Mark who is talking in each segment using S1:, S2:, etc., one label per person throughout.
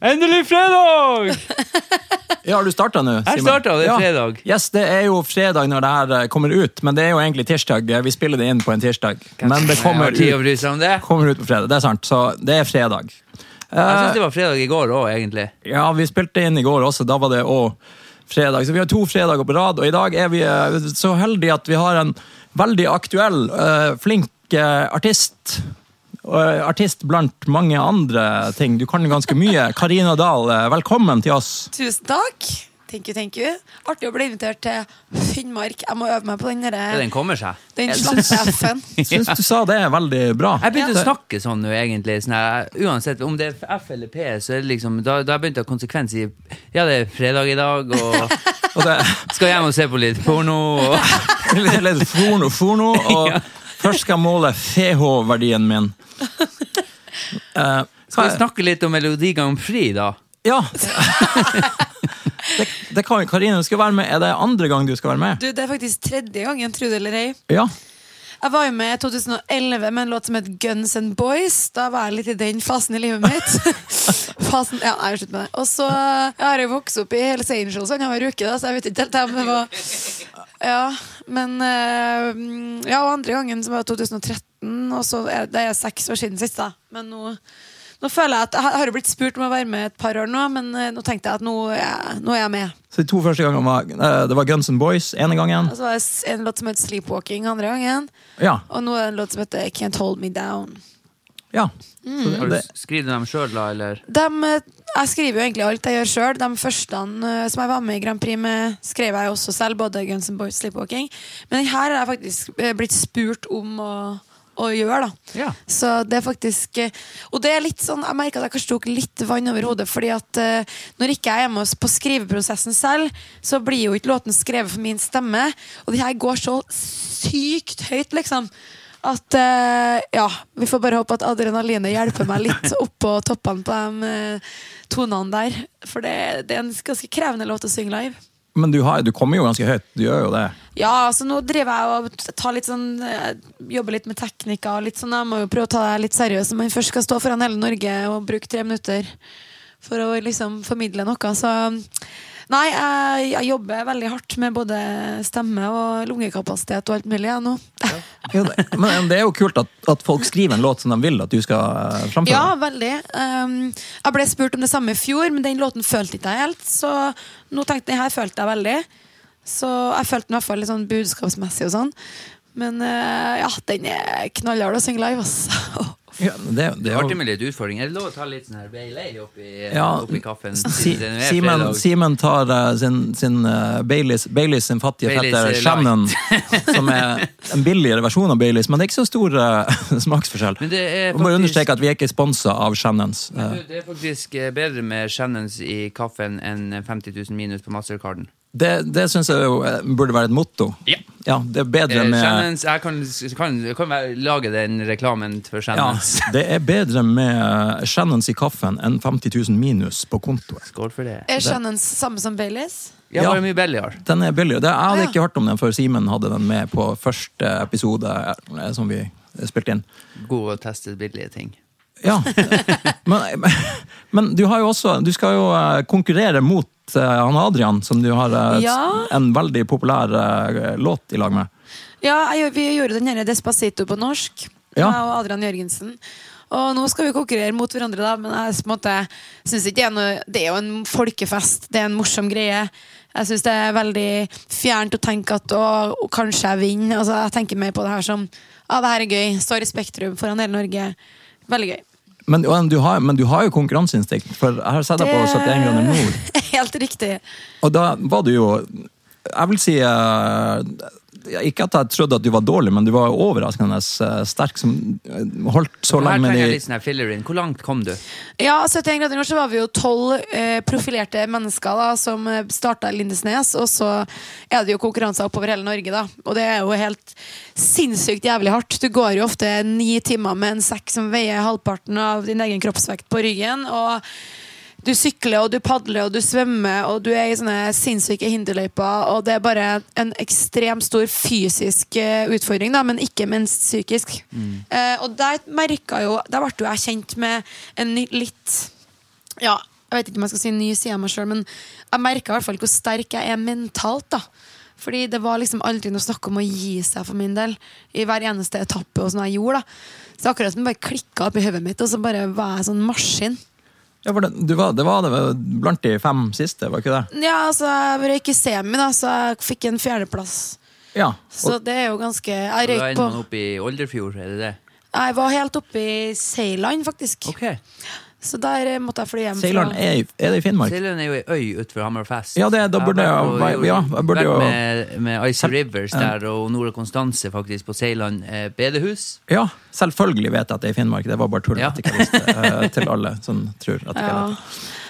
S1: Endelig fredag!
S2: Ja, har du starta nå?
S1: Jeg
S2: Simen?
S1: startet, det er fredag.
S2: Yes, det er jo fredag når det her eh, kommer ut, men det er jo egentlig tirsdag. Eh, Vi spiller det inn på en tirsdag, men det kommer
S1: Jeg har tid å
S2: ut,
S1: bry seg om det.
S2: kommer ut på fredag. Det er sant, så det er fredag.
S1: Jeg
S2: Eh,
S1: syns det var fredag i går òg, egentlig.
S2: ja, vi spilte inn i går også, da var det òg fredag. Så vi har to fredager på rad, og i dag er vi eh, så heldige at vi har en veldig aktuell, eh, flink eh, artist. Og, eh, Artist blant mange andre ting. Du kan ganske mye. Karina Dahl, eh, velkommen til oss.
S3: Tusen takk. Thank you, thank you. Artig å bli invitert til Finnmark. Jeg må øve meg på den
S1: Ja,
S3: derre
S1: den kommer seg.
S3: Den slappe F-en.
S2: Jeg syns du sa det er veldig bra.
S1: Jeg begynte
S3: Ja.
S1: å snakke sånn nå, egentlig. Sånn her, uansett om det er F eller P, så er det liksom Da, da begynte jeg konsekvens i Ja, det er fredag i dag, og
S2: Og det,
S1: skal hjem og se på litt porno. Og,
S2: Litt, litt forno, forno, og først skal jeg måle FH-verdien min. Eh,
S1: skal vi
S2: hva-
S1: snakke litt om Melodi Grand Prix, da?
S2: ja. det, det kan Karine, du skal være med. Er det andre gang du skal være med?
S3: Du, det er faktisk tredje gangen, tro det eller ei.
S2: Ja.
S3: Jeg var jo med i 2011 med en låt som het Guns and Boys. Da var jeg litt i den fasen i livet mitt. fasen, ja, nei, slutt med det. Og så jeg har jeg vokst opp i Hells Angels og var uke, da, så jeg vet ikke helt om det var Ja, men eh, Ja, og andre gangen som var 2013, og så er det er seks år siden sist, da. Men nå nå føler Jeg at, jeg har jo blitt spurt om å være med et par år nå, men eh, nå tenkte jeg at nå er jeg, nå er jeg med.
S2: Så de to første gangene var eh, Det var Guns N' Boys ene gangen.
S3: Og så var det s- en låt som het Sleepwalking andre gangen,
S2: Ja.
S3: og nå er det en låt som heter Can't Hold Me Down.
S2: ja. Så
S1: Har
S2: det,
S1: du
S2: det,
S1: skrevet dem sjøl, da, eller?
S3: Dem, eh, jeg skriver jo egentlig alt jeg gjør sjøl. De første eh, som jeg var med i Grand Prix med, skrev jeg jo også selv. Både Guns N' Boys Sleepwalking. Men den her har jeg faktisk eh, blitt spurt om å, å gjøre, da.
S1: Ja.
S3: Så det er faktisk eh, Og det er litt sånn, jeg merker at jeg kanskje tok litt vann over hodet, fordi at eh, når ikke jeg er med oss på skriveprosessen selv, så blir jo ikke låten skrevet for min stemme. Og det her går så sykt høyt, liksom. At eh, ja, vi får bare håpe at adrenalinet hjelper meg litt oppå toppene på de eh, tonene der. For det, det er en ganske krevende låt å synge live.
S2: men du, har, du kommer jo ganske høyt. Du gjør jo det.
S3: Ja, altså nå driver jeg og tar litt sånn eh, Jobber litt med teknikker og litt sånn. Jeg må jo prøve å ta det litt seriøst når man først skal stå foran hele Norge og bruke tre minutter for å liksom formidle noe. Så nei, jeg, jeg jobber veldig hardt med både stemme og lungekapasitet og alt mulig jeg nå.
S2: Ja, det men det er jo kult at, at folk skriver en låt som de vil at du skal eh, framføre.
S3: Ja, veldig. Um, jeg ble spurt om det samme i fjor, men den låten følte ikke jeg helt. Så nå tenkte jeg, den her følte jeg veldig. Så jeg følte den i hvert fall litt sånn budskapsmessig og sånn. Men eh, ja, den er knallhard å synge live, altså. ass.
S2: Ja, det, det
S1: Det
S2: er
S1: er
S2: jo-
S1: artig med litt utfordring. Er det lov å ta litt sånn her Bailey oppi,
S2: Ja,
S1: oppi kaffen?
S2: Si-
S1: siden det er
S2: Simen,
S1: fredag?
S2: Simen tar eh, sin, sin eh, Baileys, Baileys sin fattige
S1: Baileys
S2: fetter
S1: Light.
S2: Shannon, som er en billigere versjon av Baileys, men det er ikke så stor eh, smaksforskjell.
S1: Men det er
S2: Jeg må
S1: faktisk-
S2: understreke at vi er ikke sponsa av Shannons.
S1: Men du, Det er faktisk eh, bedre med Shannons i kaffen enn 50 000 minus på mastercarden.
S2: Det, det syns jeg jo eh, burde være et motto.
S1: Ja.
S2: Det er bedre
S1: Eh,
S2: med
S1: Shannons, jeg kan, kan, kan være, lage den reklamen for
S2: ja,
S1: Shannons.
S2: det er bedre med eh, Shannons i kaffen enn 50 000 minus på kontoen.
S1: Skål for det.
S3: Er Shannon samme som Baileys?
S1: Ja,
S2: Ja.
S1: bare mye billigere.
S2: Den er billigere. Det, jeg hadde
S3: Ja.
S2: ikke hørt om den før Simen hadde den med på første episode eh, som vi spilte inn.
S1: God å teste billige ting.
S2: Ja. Men, men du har jo også Du skal jo eh, konkurrere mot eh, han Adrian, som du har eh,
S3: Ja.
S2: en veldig populær eh, låt i lag med.
S3: Ja, jeg, gjør- vi gjorde den her Despacito på norsk.
S2: Ja.
S3: Jeg og Adrian Jørgensen. Og nå skal vi konkurrere mot hverandre, da, men jeg på en måte, synes ikke det, er noe, det er jo en folkefest. Det er en morsom greie. Jeg syns det er veldig fjernt å tenke at å, å, kanskje jeg vinner. Altså, jeg tenker mer på det her som ja, det her er gøy. Står i Spektrum foran hele Norge. Veldig gøy.
S2: Men, og du har, men du har jo konkurranseinstinkt, for jeg har sett deg på 71 grader nord.
S3: Helt riktig.
S2: Og da var du jo Jeg vil si eh, Ikke at jeg trodde at du var dårlig, men du var overraskende eh, sterk som eh, holdt så
S1: Her
S2: lenge med
S1: trenger jeg
S2: de
S1: litt sånn her filler in. Hvor langt kom du?
S3: Ja, altså, 71 grader nord så var vi jo tolv eh, profilerte mennesker da, som eh, starta i Lindesnes. Og så er det jo konkurranser oppover hele Norge, da. Og det er jo helt sinnssykt jævlig hardt. Du går jo ofte ni timer med en sekk som veier halvparten av din egen kroppsvekt på ryggen. og du sykler, og du padler, og du svømmer, og du er i sånne sinnssyke hinderløyper, og det er bare en ekstremt stor fysisk eh, utfordring, da, men ikke minst psykisk. Eh, og der merka jo Der ble jo jeg kjent med en ny- litt ja, Jeg vet ikke om jeg skal si en ny side av meg sjøl, men jeg merka i hvert fall hvor sterk jeg er mentalt. da Fordi det var liksom aldri noe snakk om å gi seg for min del i hver eneste etappe. og sånn jeg gjorde da Så akkurat som det bare klikka opp i hodet mitt, og så bare var jeg sånn maskin.
S2: Ja, for det, du var, det var det vel blant de fem siste, var ikke det?
S3: Ja, altså Jeg røyk i semi, da, så jeg fikk en fjerdeplass.
S2: Ja.
S3: Så det er jo ganske Jeg
S1: Da
S3: røyk
S1: ender
S3: på
S1: man opp i Olderfjord, er det det?
S3: Jeg var helt oppe i Seiland, faktisk.
S1: Ok.
S3: Så der eh, måtte jeg fly hjem. fra-
S2: Seileren, er, i- er det i Finnmark?
S1: Seileren er jo ei øy utenfor Hammerfest.
S2: Ja, det- da burde
S1: Jeg har
S2: jeg-
S1: vært på-
S2: ja, jeg burde
S1: vært
S2: jo-
S1: med, med Icy Rivers der og Nora Konstanse faktisk på Seiland eh, bedehus.
S2: Ja, selvfølgelig vet jeg at det er i Finnmark. Det var bare tull
S1: Ja.
S2: at jeg ikke visste eh, til alle som tror at jeg
S3: Ja.
S2: vet det.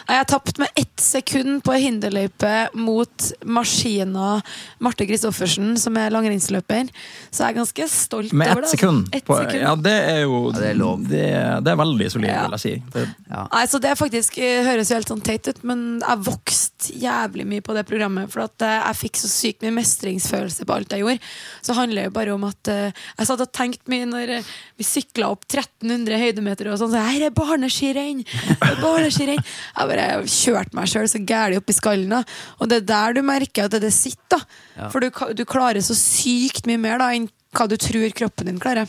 S3: Nei, Jeg tapte med ett sekund på ei hinderløype mot maskina Marte Christoffersen, som er langrennsløper. Så jeg er ganske stolt
S2: Med
S3: over det.
S2: ett
S3: altså.
S2: sekund.
S3: Ett
S2: På,
S3: sekund.
S2: ja, det er jo
S1: Ja, det er lov.
S2: Det, det er veldig solid,
S3: Ja.
S2: vil jeg si. Det,
S3: Nei, så Det er faktisk, eh, høres jo helt sånn teit ut, men jeg vokste jævlig mye på det programmet. For at eh, jeg fikk så sykt mye mestringsfølelse på alt jeg gjorde. Så handler det jo bare om at eh, jeg satt og tenkte mye når eh, vi sykla opp 1300 høydemeter og sånn. Så her er barneskirenn! Det er barneskirenn! Jeg bare kjørte meg sjøl så gæli opp i skallen. da. Og det er der du merker at det sitter. da.
S1: Ja.
S3: For du, ka- du klarer så sykt mye mer da enn hva du tror kroppen din klarer.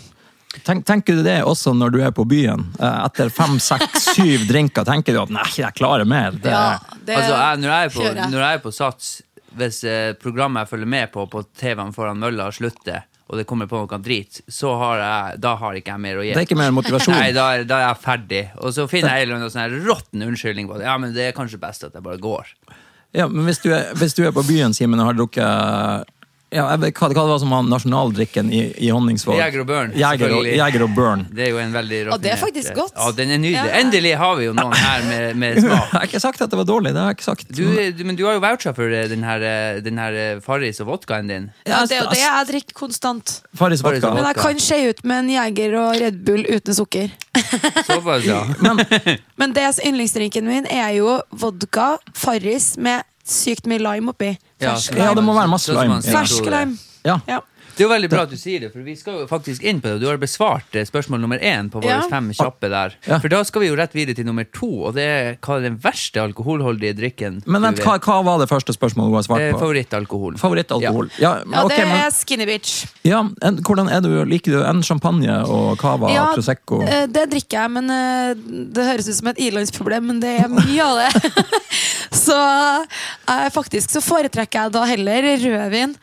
S2: tenk, tenker du det også når du er på byen? Eh, etter fem, seks, syv drinker tenker du at nei, jeg klarer mer. Det,
S3: det
S1: altså, jeg, når, jeg er
S3: hører
S1: på, når jeg er på Sats, hvis eh, programmet jeg følger med på på TV-en foran mølla slutter, og det kommer på noe drit, så har jeg, da har ikke jeg mer å gi.
S2: det er ikke mer motivasjon.
S1: Nei, da, er- da er jeg ferdig. Og så finner jeg en eller annen sånn her råtten unnskyldning på det. Ja, men det er kanskje best at jeg bare går.
S2: Ja, men hvis du er, hvis du er på byen, Simen, og har drukket ja, jeg vet, hva, hva det var som var nasjonaldrikken i, i Honningsvåg?
S1: Jeger og Børn,
S2: Jeger og,
S1: selvfølgelig.
S2: Jeger og børn.
S1: Det er jo en veldig
S3: Og det er faktisk
S1: raffinert-
S3: godt.
S1: Ja, den er nydelig.
S3: Ja.
S1: Endelig har vi jo noen her med, med
S2: Jeg
S1: smak.
S2: har ikke sagt at det var dårlig. det har jeg ikke sagt.
S1: Du, du, men du har jo voucha for eh, den her, eh, den her eh, Farris og vodkaen din.
S3: Ja, det er jo det jeg drikker konstant.
S2: Farris
S1: Farris
S2: vodka.
S1: og
S3: Men jeg kan se ut med en jeger og Red Bull uten sukker.
S1: Såpass, ja.
S2: Men,
S3: Men det som yndlingsdrinken min er jo vodka Farris med sykt mye lime oppi. Fersk
S2: Ja, det
S3: lime.
S2: må være masse
S1: Sånn som
S2: lime.
S1: han sier,
S3: Fersk
S1: Frode.
S3: lime.
S2: ja.
S3: Ja.
S1: Det er jo veldig bra at du sier det, for vi skal jo faktisk inn på det. Du har besvart eh, spørsmål nummer én på våre
S3: Ja.
S1: fem kjappe der.
S2: Ja.
S1: For da skal vi jo rett videre til nummer to, og det er hva er den verste alkoholholdige drikken
S2: Men vent, hva, hva var det første spørsmålet hun har
S1: Eh,
S2: svart på?
S1: Favorittalkohol.
S2: Favorittalkohol. Ja,
S3: Ja,
S2: ok,
S3: det
S2: men,
S3: er skinny bitch.
S2: ja en, hvordan er du, Liker du en champagne og cava
S3: Ja,
S2: prosecco?
S3: eh, det drikker jeg, men eh, det høres ut som et ilandsproblem, men det er mye av det. så eh, faktisk så foretrekker jeg da heller rødvin.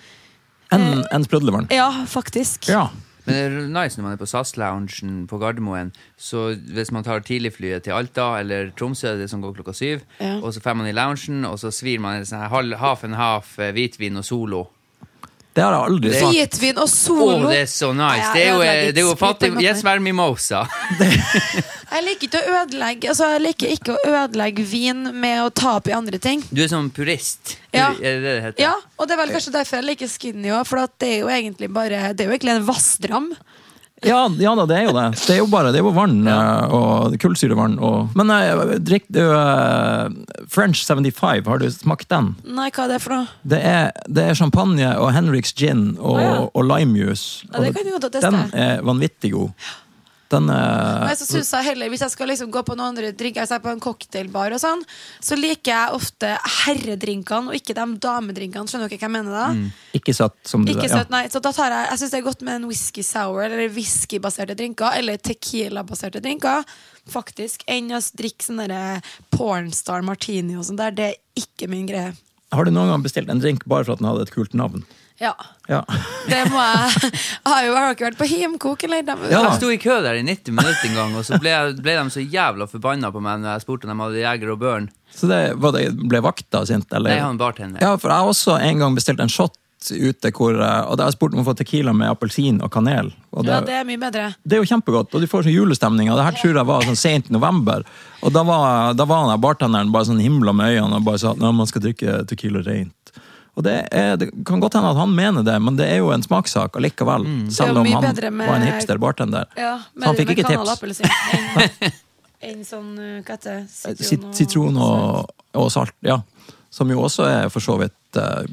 S2: En, en sprudlevann?
S3: Ja, faktisk.
S2: Ja.
S1: Men det er nice når man er på SAS-loungen på Gardermoen. Så hvis man tar tidligflyet til Alta eller Tromsø, det som går klokka syv,
S3: Ja.
S1: og så får man i loungen, og så svir man en sånn her halv- half and half eh, hvitvin og Solo.
S2: Det har jeg aldri svart.
S3: Hvitvin og
S1: Å,
S3: solo.
S1: det er så nice!
S3: Nei,
S1: Det er jo,
S3: jeg
S1: eh, det er jo
S3: ødelegger
S1: fattig
S3: sprit på en måte.
S1: Yes, vær mimosa.
S3: Jeg liker ikke å ødelegge Altså jeg liker ikke å ødelegge vin med å ta opp i andre ting.
S1: Du er sånn purist.
S3: Ja.
S1: Er det det det heter?
S3: Ja, og det er vel kanskje derfor jeg liker skinny òg, for at det er jo egentlig bare Det er jo egentlig en vassdram.
S2: Ja, ja da, det er jo det. Det er jo bare det er jo vann eh, og kullsyrevann og Men eh, drikk du eh, French 75, har du smakt den?
S3: Nei, hva er det for noe?
S2: Det er, det er champagne og Henriks gin og,
S3: Å, ja.
S2: og limejuice.
S3: Ja, det
S2: Og
S3: kan jeg godt teste.
S2: den er vanvittig god. Den er
S3: Nei, så synes jeg heller Hvis jeg skal liksom gå på noen andre drinker, altså jeg er på en cocktailbar og sånn, så liker jeg ofte herredrinkene og ikke de damedrinkene. Skjønner dere hva jeg mener da?
S2: ikke søt som du
S3: Ikke søt, nei. Så da tar jeg Jeg syns det er godt med en whisky sour eller whiskybaserte drinker, eller tequila-baserte drinker, faktisk, enn å drikke sånn derre pornstar martini og sånn der. Det er ikke min greie.
S2: Ja. Har du noen gang bestilt en drink bare for at den hadde et kult navn?
S3: Ja.
S2: Ja.
S3: Det må jeg Jeg har jo har dere vært på Himkok, eller? De,
S2: Ja.
S1: Jeg sto i kø der i 90 minutter en gang, og så ble, jeg- ble de så jævla forbanna på meg når jeg spurte om de hadde Jeger og Børn.
S2: Så det, var det ble vakta sint, eller?
S1: Nei, han bartender.
S2: Ja, for jeg har også en gang bestilt en shot ute hvor eh, Og da har jeg spurt om å få tequila med appelsin og kanel. Og det,
S3: ja, det er mye bedre.
S2: det er jo kjempegodt, og du får sånn julestemning. Og det her tror jeg var sånn sent i november. Og da var, da var han der bartenderen bare sånn himla med øynene og bare sa at man skal drikke tequila rent. Og det, er, det kan godt hende at han mener det, men det er jo en smakssak allikevel.
S3: Mm. Det er
S2: Selv
S3: jo
S2: om
S3: mye
S2: han
S3: bedre med-
S2: var en hipster bartender.
S3: Ja,
S2: Så han fikk ikke
S3: kanal og
S2: tips.
S3: appelsin enn- Enn sånn uh, hva heter det?
S2: Sit- Sitron og, og salt, ja. Som jo også er for så vidt eh,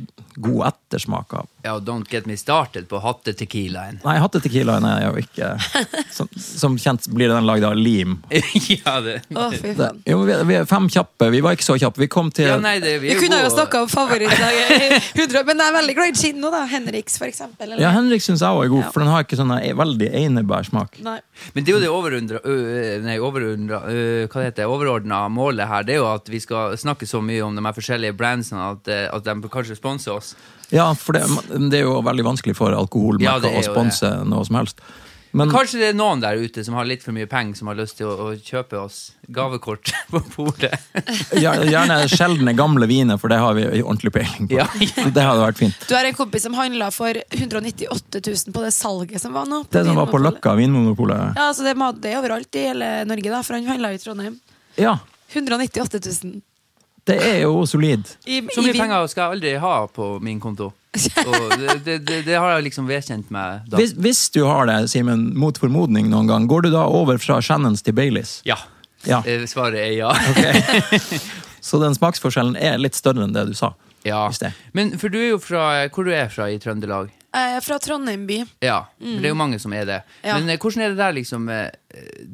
S2: god ettersmak av.
S1: Ja, og don't get me started på hattetequilaen.
S2: Nei, hatt tequilaen er jo ikke Som, som kjent blir den lagd av lim.
S1: ja, det
S3: Å,
S2: Det,
S3: fy faen.
S2: jo, vi, vi er fem kjappe. Vi var ikke så kjappe. Vi kom til
S1: ja, nei, det, vi
S3: Vi
S1: er
S3: kunne jo
S1: gode.
S3: snakka om favorittlaget i 100 men jeg er veldig glad i gin nå, da. Henriks, for eksempel.
S2: Ja,
S3: Eller?
S2: Henrik syns jeg òg er god,
S3: Ja.
S2: for den har ikke sånn her veldig einebærsmak.
S3: Nei.
S1: Men det er jo det overundra, ø, ø, nei, overundra, ø, hva det heter, overordna målet her. Det er jo at vi skal snakke så mye om de her forskjellige brandsene at, ø, at de kanskje sponser oss.
S2: Ja, for det, det er jo veldig vanskelig for
S1: Ja, det
S2: alkoholmerker
S1: er
S2: å
S1: jo
S2: sponse noe som helst. Men
S1: Kanskje det er noen der ute som har litt for mye penger, som har lyst til å, å kjøpe oss gavekort på bordet.
S2: gjer- gjerne sjeldne gamle viner, for det har vi ordentlig peiling på.
S1: Ja.
S2: Så det hadde vært fint.
S3: Du har en kompis som handla for 198 000 på det salget som var nå.
S2: Det som var på
S3: Vinmonopolet.
S2: Løkka, Vinmonopolet.
S3: Ja, så det hadde det overalt i hele Norge, da, for han handla i Trondheim.
S2: Ja,
S3: 198 000.
S2: det er jo solid.
S3: I,
S1: Så
S3: i
S1: mye
S3: vin.
S1: penger skal jeg aldri ha på min konto. Og det, det, det, det har jeg liksom vedkjent meg da.
S2: Hvis, hvis du har det, Simen, mot formodning noen gang, går du da over fra Shannons til Baileys?
S1: Ja.
S2: Ja.
S1: Eh, Svaret er ja.
S2: Så den smaksforskjellen er litt større enn det du sa.
S1: ja.
S2: Hvis det.
S1: Men for du er jo fra Hvor du er fra i Trøndelag?
S3: Eh, fra Trondheim by.
S1: Ja, for det er jo mange som er det.
S3: Mm. Ja.
S1: Men eh, hvordan er det der, liksom, eh,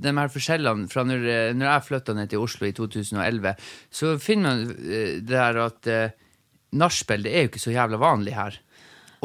S1: de her forskjellene fra når, eh, når jeg flytta ned til Oslo i 2011, så finner man eh, det der at eh, nachspiel, det er jo ikke så jævla vanlig her.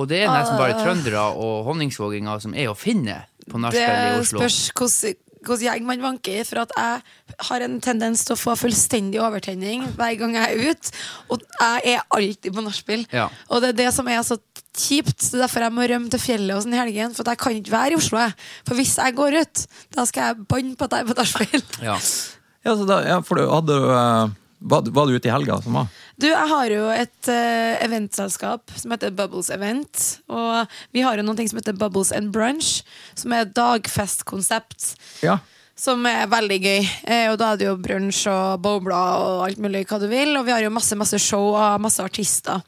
S1: Og det er nesten bare
S3: Ah.
S1: trøndere og honningsvåginger som er å finne på nachspiel i
S3: Det
S1: Oslo.
S3: spørs hvordan hvordan gjeng man vanker i. For at jeg har en tendens til å få fullstendig overtenning hver gang jeg er ute. Og jeg er alltid på nachspiel.
S1: Ja.
S3: Og det er det som er så kjipt. Det er derfor jeg må rømme til fjellet og sånn i helgen. For at jeg kan ikke være i Oslo. Jeg. For hvis jeg går ut, da skal jeg banne på at jeg er på nachspiel.
S1: Ja.
S2: Ja, så da, ja for du hadde du eh, var, var du ute i helga som var?
S3: Du, jeg har jo et eh, eventselskap som heter Bubbles Event. Og vi har jo noen ting som heter Bubbles and Brunch, som er et dagfestkonsept.
S2: Ja.
S3: Som er veldig gøy. Eh, og da er det jo brunsj og bobler og alt mulig hva du vil. Og vi har jo masse masse show og masse artister.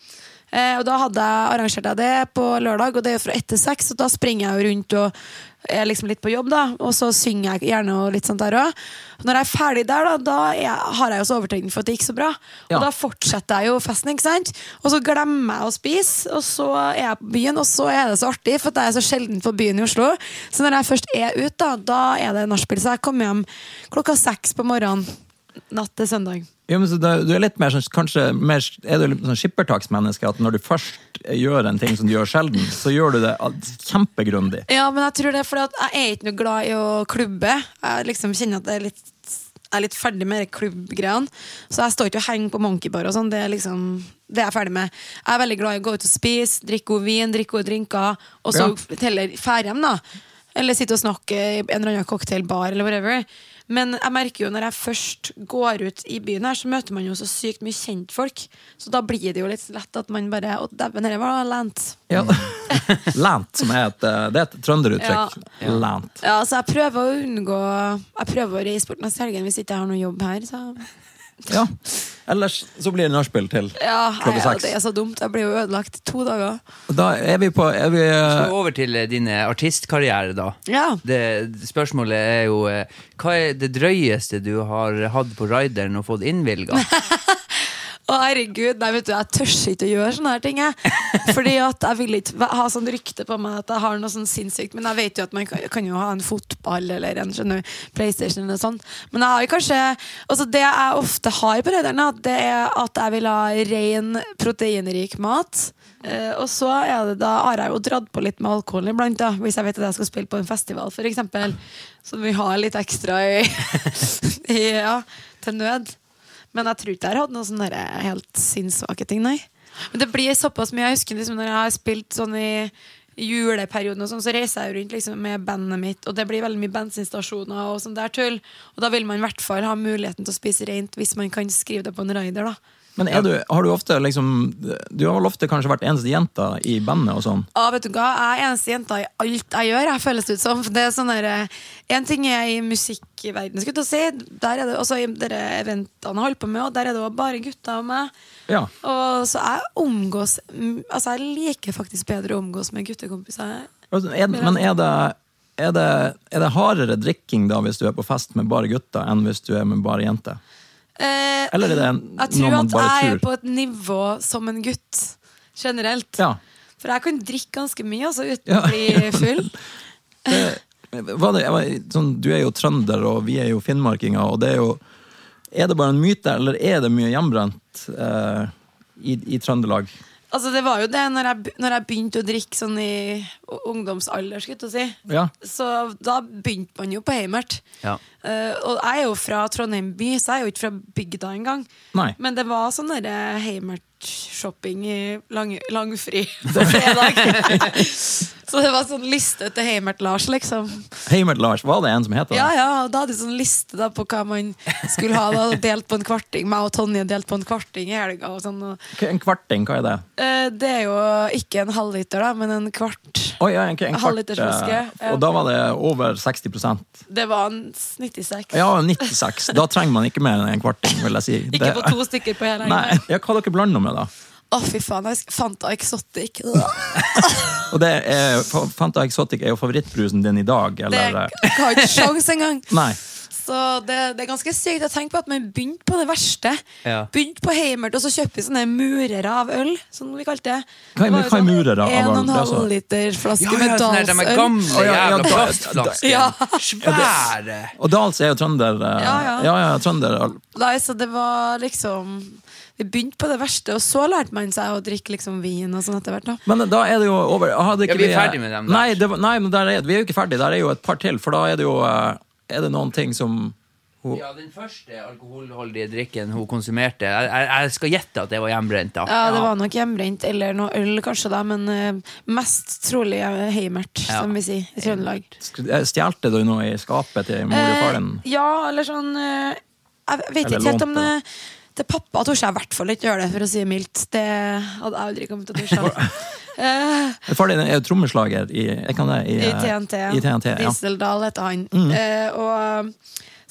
S3: Eh, og da hadde jeg arrangert jeg det på lørdag, og det er jo fra ett til seks. Og da springer jeg jo rundt og er liksom litt på jobb, da. Og så synger jeg gjerne og litt sånt der òg. Når jeg er ferdig der, da, da er jeg, har jeg jo så overtenning for at det gikk så bra.
S2: Ja.
S3: Og da fortsetter jeg jo festen, ikke sant? Og så glemmer jeg å spise, og så er jeg på byen, og så er det så artig, for at jeg er så sjelden på byen i Oslo. Så når jeg først er ute, da, da er det nachspiel. Så jeg kommer hjem klokka seks på morgenen natt til søndag.
S2: Ja, men så da, du er litt mer sånn, kanskje mer, er du litt sånn skippertaksmenneske, at når du først gjør en ting som du gjør sjelden, så gjør du det al- kjempegrundig.
S3: Ja, men jeg tror det er fordi at jeg er ikke noe glad i å klubbe. Jeg liksom kjenner at jeg er litt, jeg er litt ferdig med de klubbgreiene. Så jeg står ikke og henger på monkeybar og sånn. Det er liksom det er jeg ferdig med. Jeg er veldig glad i å gå ut og spise, drikke god vin, drikke gode drinker, og så heller fære hjem, da. Eller sitte og snakke i en eller annen cocktailbar eller whatever. Men jeg merker jo når jeg først går ut i byen her, så møter man jo så sykt mye kjentfolk. Så da blir det jo litt lett at man bare Å, dæven, dette var lent.
S2: Ja. Mm. Lent, som er et, eh, det er et trønderuttrykk. Lent.
S3: Ja, så jeg prøver å unngå Jeg prøver å reise bort neste helgen hvis ikke jeg har noen jobb her. Så.
S2: Ja. Ellers så blir det nachspiel til
S3: Ja,
S2: klokka
S3: jeg,
S2: seks.
S3: Det er så dumt. Jeg blir jo ødelagt i to dager.
S2: Da er vi på er vi,
S1: Så
S2: eh,
S1: over til eh, din eh, artistkarriere, da.
S3: Ja.
S1: Det, spørsmålet er jo eh, Hva er det drøyeste du har hatt på rideren og fått innvilga?
S3: Å, herregud, nei, vet du, jeg tør ikke å gjøre sånne her ting. Jeg. Fordi at jeg vil ikke ha sånn rykte på meg at jeg har noe sånn sinnssykt. Men jeg vet jo at man kan, kan jo ha en fotball eller en skjønner, du, PlayStation eller sånt. Men jeg har jo kanskje altså Det jeg ofte har på rederne, det er at jeg vil ha ren, proteinrik mat. Eh, og så er det da har jeg jo dratt på litt med alkohol iblant, da, hvis jeg vet at jeg skal spille på en festival, f.eks. Så vi har litt ekstra i, i ja, til nød. Men jeg tror ikke jeg har hatt noen sånne der eh, helt sinnssvake ting, nei. Men det blir såpass mye. Jeg husker liksom når jeg har spilt sånn i juleperioden, og sånn, så reiser jeg jo rundt liksom med bandet mitt, og det blir veldig mye bensinstasjoner og sånn der tull. Og da vil man i hvert fall ha muligheten til å spise rent hvis man kan skrive det på en rider, da.
S2: men er du, har du ofte liksom Du har vel ofte kanskje vært eneste jenta i bandet og sånn?
S3: Ah, vet du hva? Jeg er eneste jenta i alt jeg gjør, jeg føles det ut som. For Det er sånn der, eh, en ting er i musikkverdenen, skulle jeg til å si. Der er det også i dere eventene jeg holder på med, og der er det også bare gutter og meg.
S2: Ja.
S3: Og så jeg omgås mm, Altså jeg liker faktisk bedre å omgås med guttekompiser.
S2: Altså, er, men er det, er, det, er det hardere drikking da hvis du er på fest med bare gutter, enn hvis du er med bare jenter?
S3: Eh,
S2: Eller er det
S3: jeg
S2: noe
S3: tror
S2: man
S3: at jeg
S2: bare
S3: er
S2: tror?
S3: på et nivå som en gutt. generelt.
S2: Ja.
S3: For jeg kan drikke ganske mye altså, uten
S2: Ja.
S3: å bli full.
S2: Var det, var, sånn, du er jo trønder, og vi er jo finnmarkinger, og det er jo Er det bare en myte, eller er det mye hjemmebrent eh, i, i Trøndelag?
S3: Altså, det var jo det når jeg, be- når jeg begynte å drikke sånn i ungdomsalder, skulle jeg til å si.
S2: Ja.
S3: Så da begynte man jo på Heimert.
S1: Ja.
S3: Eh, og jeg er jo fra Trondheim by, så jeg er jo ikke fra bygda engang.
S2: Nei.
S3: Men det var sånn derre Heimert-shopping i lang, langfri på fredag. så det var sånn liste til Heimert-Lars, liksom.
S2: Heimert-Lars, var det en som het det?
S3: Ja, ja, og da hadde jeg sånn liste da på hva man skulle ha. Da, delt på en kvarting. Meg og Tonje delte på en kvarting i helga. Og sånn, og,
S2: K- En kvarting, hva er det?
S3: Eh, det er jo ikke en halvliter, da, men en kvart.
S2: Oi, ja, en, en kvart,
S3: Halvlitersflaske,
S2: eh,
S3: ja.
S2: Og da var det over 60
S3: Det var en 96.
S2: Ja, 96. Da trenger man ikke mer enn en kvarting, vil jeg si.
S3: Ikke på to stykker på hele
S2: Nei.
S3: helga.
S2: Ja, hva dere blander med, da?
S3: Å, fy faen. Jeg sk- Fanta Exotic.
S2: Og det er, Fa- Fanta Exotic er jo favorittbrusen din i dag,
S3: Det
S2: eller? eh,
S3: jeg har ikke sjans engang.
S2: Nei.
S3: Så det, det er ganske sykt. Jeg tenker på at man begynte på det verste.
S1: Ja.
S3: Begynte på Heimert, og så kjøpte vi sånne murere av øl, som vi kalte det.
S2: Hva er-
S3: Det var jo
S2: hva er
S3: sånn
S2: murere av
S3: En og
S2: øl?
S3: en
S2: Det er
S3: halv
S2: sånn-
S3: liter flaske
S1: Ja, ja,
S3: med
S1: sånn her, de er
S3: Dals-øl.
S1: gamle
S2: ja, ja,
S1: jævla
S2: da-
S1: plastflasker.
S3: Ja.
S1: Svære!
S2: Og Dahls er jo trønder. eh,
S3: Ja, ja.
S2: ja, ja trønder.
S3: Nei, så det var liksom Vi begynte på det verste, og så lærte man seg å drikke liksom vin og sånn etter hvert. da
S2: Men da er det jo over. Hadde ikke
S1: Ja, vi er ferdig med dem der.
S2: Nei, det, var- nei men der er, vi er jo ikke ferdig. Der er jo et par til, for da er det jo eh, Er det noen ting som hun-
S1: Ja, den første alkoholholdige drikken hun konsumerte, jeg, jeg, jeg skal gjette at det var hjemmebrent, da.
S3: Ja, det var nok hjemmebrent eller noe øl, kanskje, da, men eh, mest trolig eh, heimert,
S1: Ja.
S3: som vi sier i Trøndelag.
S2: eh, Stjelte du noe i skapet til mor og far din?
S3: Eh, ja, eller sånn eh, Jeg vet
S2: Eller
S3: ikke helt om det
S2: lånte,
S3: til pappa torde jeg i hvert fall ikke gjøre det, for å si det mildt. Det hadde jeg aldri kommet til å tørre. Eh,
S2: Far din er jo trommeslager i, jeg kan det, i,
S3: I
S2: eh,
S3: TNT.
S2: I TNT ja. Mm.
S3: Dieseldal heter han. Eh, og,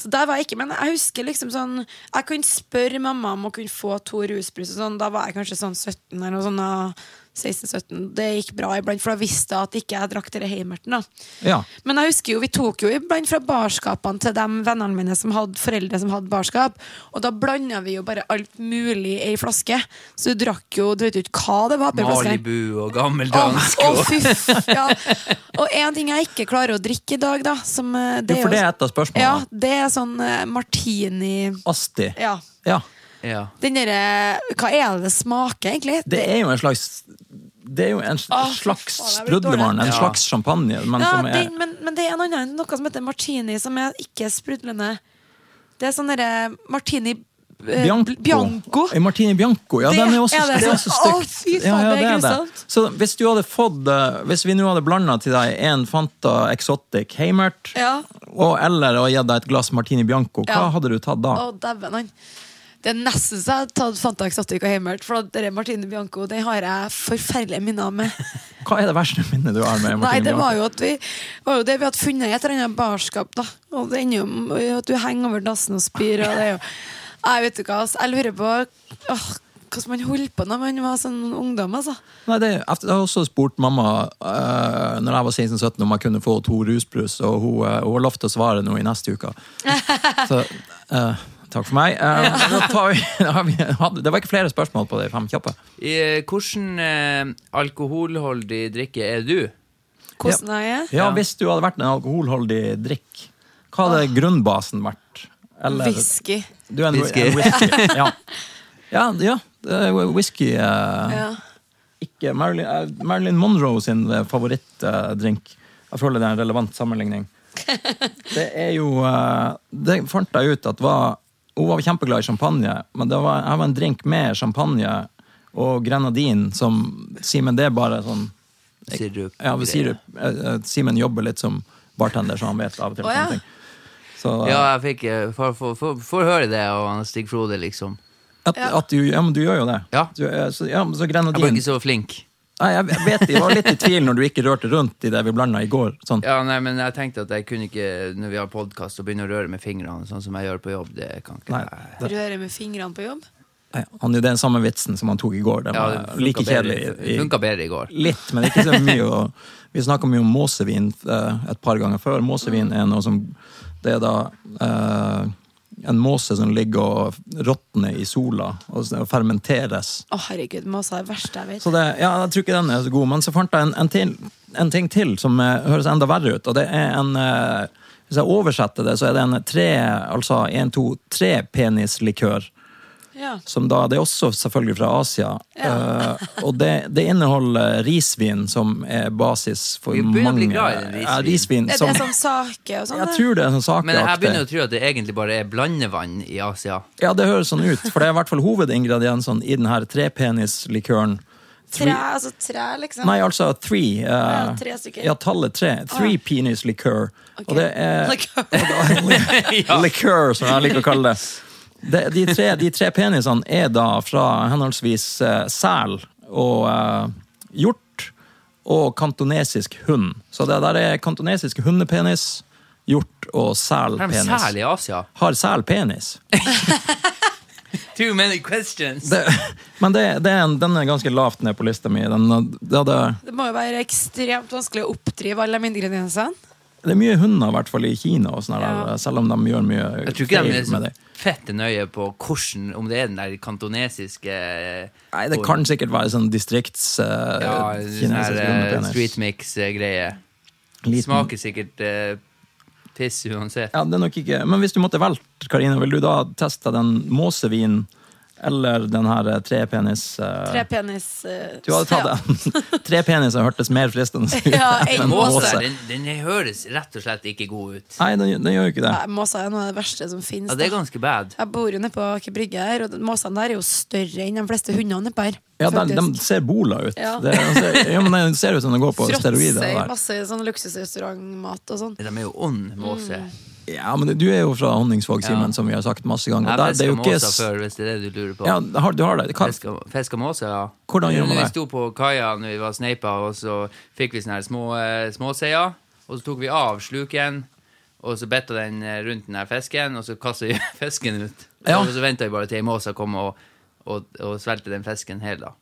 S3: så der var jeg ikke, men jeg husker liksom sånn Jeg kunne spørre mamma om å kunne få to rusbrus. Og sånn, da var jeg kanskje sånn 17 eller noe sånn. da, 16-17 Det gikk bra iblant, for da visste jeg at ikke jeg drakk dere Heimerten. da.
S2: ja.
S3: Men jeg husker jo, vi tok jo iblant fra barskapene til de vennene mine som hadde foreldre som hadde barskap, og da blanda vi jo bare alt mulig i ei flaske. Så du drakk jo, du vet jo ikke hva det var oppi flaska.
S1: Malibu og
S3: Å,
S1: gammeldansk
S3: å,
S1: og
S3: fy f- ja. Og en ting jeg ikke klarer å drikke i dag, da som, eh,
S2: Jo, for det er
S3: jo-
S2: et av spørsmålene.
S3: ja, det er sånn eh, martini
S2: Asti.
S3: Ja.
S2: Ja.
S1: ja.
S3: Den derre Hva er det det smaker, egentlig?
S2: Det er jo en slags Det er jo en
S3: Åh,
S2: s- slags
S3: for faen, jeg blir
S2: sprudlevann, en
S1: dårlig.
S2: slags champagne, men
S3: ja,
S2: som er
S3: den, men, men det er noe annet enn noe som heter martini, som er ikke sprudlende. Det er sånn derre martini eh,
S2: Bianco.
S3: Bianco.
S2: Eh, Martini Bianco, ja,
S3: Det
S2: den er også,
S3: er det.
S2: det er også
S3: Å,
S2: stygt.
S3: fy faen, det er grusomt.
S2: Så hvis du hadde fått eh, Hvis vi nå hadde blanda til deg en Fanta Exotic Heimert,
S3: Ja.
S2: og eller og gitt deg et glass Martini Bianco, hva
S3: Ja.
S2: hadde du tatt da?
S3: Å, dæven han. Det er nesten så jeg har tatt Fanta Exotic og Heimert, for det er Martine Bianco. Den har jeg forferdelige minner med.
S2: Hva er det verste minnet du har med Martini
S3: Nei, det
S2: Bianco?
S3: var jo at vi, var jo det vi hadde funnet i et eller annet barskap, da. Og det ender jo med at du henger over dassen og spyr, og det er jo Nei, vet du hva, altså, jeg lurer på åh, hvordan man holdt på når man var sånn ungdom, altså.
S2: Nei, det, jeg har også spurt mamma uh, når jeg var 16-17 om jeg kunne få to rusbrus, og hun, eh, hun har lovt å svare nå i neste uke. Så eh, takk for meg. Eh, da tar vi, da har vi, hadde- det var ikke flere spørsmål på de fem kjappe.
S1: I, Hvordan eh, alkoholholdig drikke er du?
S3: Hvordan jeg er.
S2: Ja,
S1: Ja.
S2: Hvis du hadde vært en alkoholholdig drikk, hva hadde grunnbasen vært? Eller-
S3: Whisky.
S2: Du er en,
S1: Whisky.
S2: En whisky. Ja. ja, ja. det er jo Whisky eh,
S3: Ja.
S2: ikke Marilyn, eh, Marilyn Monroe sin eh, favorittdrink. jeg føler det er en relevant sammenligning. Det er jo eh, Det fant jeg ut at var Hun var kjempeglad i champagne, men det var, jeg var en drink med champagne og grenadin som Simen, det er bare sånn
S1: Sirup.
S2: Ja, vi sier eh, eh, Simen jobber litt som bartender, så han vet av og til
S3: Å, ja.
S2: sånne ting. Så,
S1: Ja, jeg fikk eh, får- får- får- får høre det av han Stig Frode, liksom.
S2: at, at du, ja, men du gjør jo det.
S1: Ja.
S2: Du, eh, så, ja, men så
S1: Jeg var
S2: grenadin
S1: ikke så flink.
S2: Nei, jeg vet det. Jeg var litt i tvil når du ikke rørte rundt i det vi blanda i går. Sånn.
S1: Ja, nei, men jeg tenkte at jeg kunne ikke, når vi har podkast, å begynne å røre med fingrene, sånn som jeg gjør på jobb. Det kan ikke
S2: Nei,
S1: jeg.
S2: det,
S3: Røre med fingrene på jobb.
S2: nei, han gjorde den samme vitsen som han tok i går. Den
S1: Ja,
S2: var
S1: det funka
S2: like
S1: bedre-
S2: kjedelig. i-
S1: Funka bedre i går.
S2: Litt, men ikke så mye. Og vi snakka mye om måsevin eh, et par ganger før. Måsevin er noe som Det er da eh, en måse som ligger og råtner i sola og s- og fermenteres.
S3: Å, herregud, Måsa er det verste jeg vet.
S2: Så det, ja, jeg tror ikke den er så god, men så fant jeg en, en, til, en ting til som eh, høres enda verre ut, og det er en eh, Hvis jeg oversetter det, så er det en tre, altså en, to, tre penislikør. Sånn-
S3: Ja.
S2: Som da, det er også selvfølgelig fra Asia.
S3: Ja.
S2: Eh, og det, det inneholder risvin som er basis for
S1: Vi
S2: mange
S1: begynner å bli glad i den risvin.
S2: Ja, risvin
S3: Er
S2: som,
S3: det sånn sake og sånn?
S2: Jeg
S3: det?
S2: tror det er sånn
S1: Men jeg
S2: sakeaktig.
S1: begynner å tro at det egentlig bare er blandevann i Asia.
S2: Ja, det høres sånn ut, for det er i hvert fall hovedingrediensene i denne trepenislikøren.
S3: Tre, altså tre, liksom?
S2: Nei, altså three. eh,
S3: Ja, tre stykker.
S2: Ja, tallet tre. Three penis liqueur. Og det er
S1: ja.
S2: liqueur, som jeg liker å kalle det. De, de, tre, de tre penisene er da fra henholdsvis eh, sel og eh, hjort og kantonesisk hund. Så det der er kantonesisk hundepenis, hjort
S1: Har
S2: og
S1: de sel
S2: selpenis.
S1: i Asia?
S2: Har sel penis?
S1: Too many questions!
S2: Det, men det, det er en, den er ganske lavt ned på lista mi. Den, det, hadde,
S3: Det må jo være ekstremt vanskelig å oppdrive alle de ingrediensene.
S2: det er mye hunder, i hvert fall i Kina, og sånne
S3: Ja.
S2: der, selv om de gjør mye
S1: Jeg tror ikke de er
S2: feil
S1: så
S2: med det.
S1: fette nøye på hvordan, om det er den der kantonesiske
S2: Nei, det kan sikkert være sånn distrikts eh,
S1: ja, sånn
S2: kinesisk
S1: her, eh,
S2: hundepenis.
S1: street mix-greie.
S2: Liten-
S1: Smaker sikkert eh, piss uansett.
S2: Ja, det er nok ikke Men hvis du måtte valgt, Karina, vil du da teste den måsevinen eller den her eh, trepenis eh,
S3: Tre penis eh,
S2: Du hadde
S3: ja.
S2: tatt den. trepenis har hørtes mer fristende ut
S3: Ja,
S2: enn
S3: en
S1: Måse,
S2: måse.
S1: den, den høres rett og slett ikke god ut.
S2: Nei, den, den gjør jo ikke det.
S3: Nei, Måsa er noe av det verste som finnes.
S1: Ja, det er
S3: da.
S1: ganske bad.
S3: Jeg bor jo nede på Aker Brygge her, og måsene der er jo større enn de fleste hundene nedpå her.
S2: Ja, de,
S3: faktisk.
S2: de ser bola ut.
S3: Ja.
S2: Det, de ser, ja, men den ser ut som den går på steroider.
S3: Fråtser i
S2: Der.
S3: masse sånn luksusrestaurantmat og sånn.
S1: De er jo ond måse.
S2: Ja, men du er jo fra Honningsvåg, Simen,
S1: Ja.
S2: som vi har sagt masse ganger.
S1: Jeg
S2: Der,
S1: har
S2: det
S1: fiska
S2: er jo ikke
S1: måser
S2: s-
S1: før, hvis det er det du lurer på.
S2: Ja, har, du har det. Hva,
S1: Fiska, fiska måse, ja.
S2: Hvordan gjør man
S1: Vi
S2: det?
S1: sto på kaia når vi var sneipa, og så fikk vi sånne her små eh, småseier. Og så tok vi av sluken, og så betta den eh, rundt den her fisken, og så kasta vi fisken ut.
S2: Ja.
S1: Og så venta vi bare til ei måse kom og, og, og svelgte den fisken hel, da.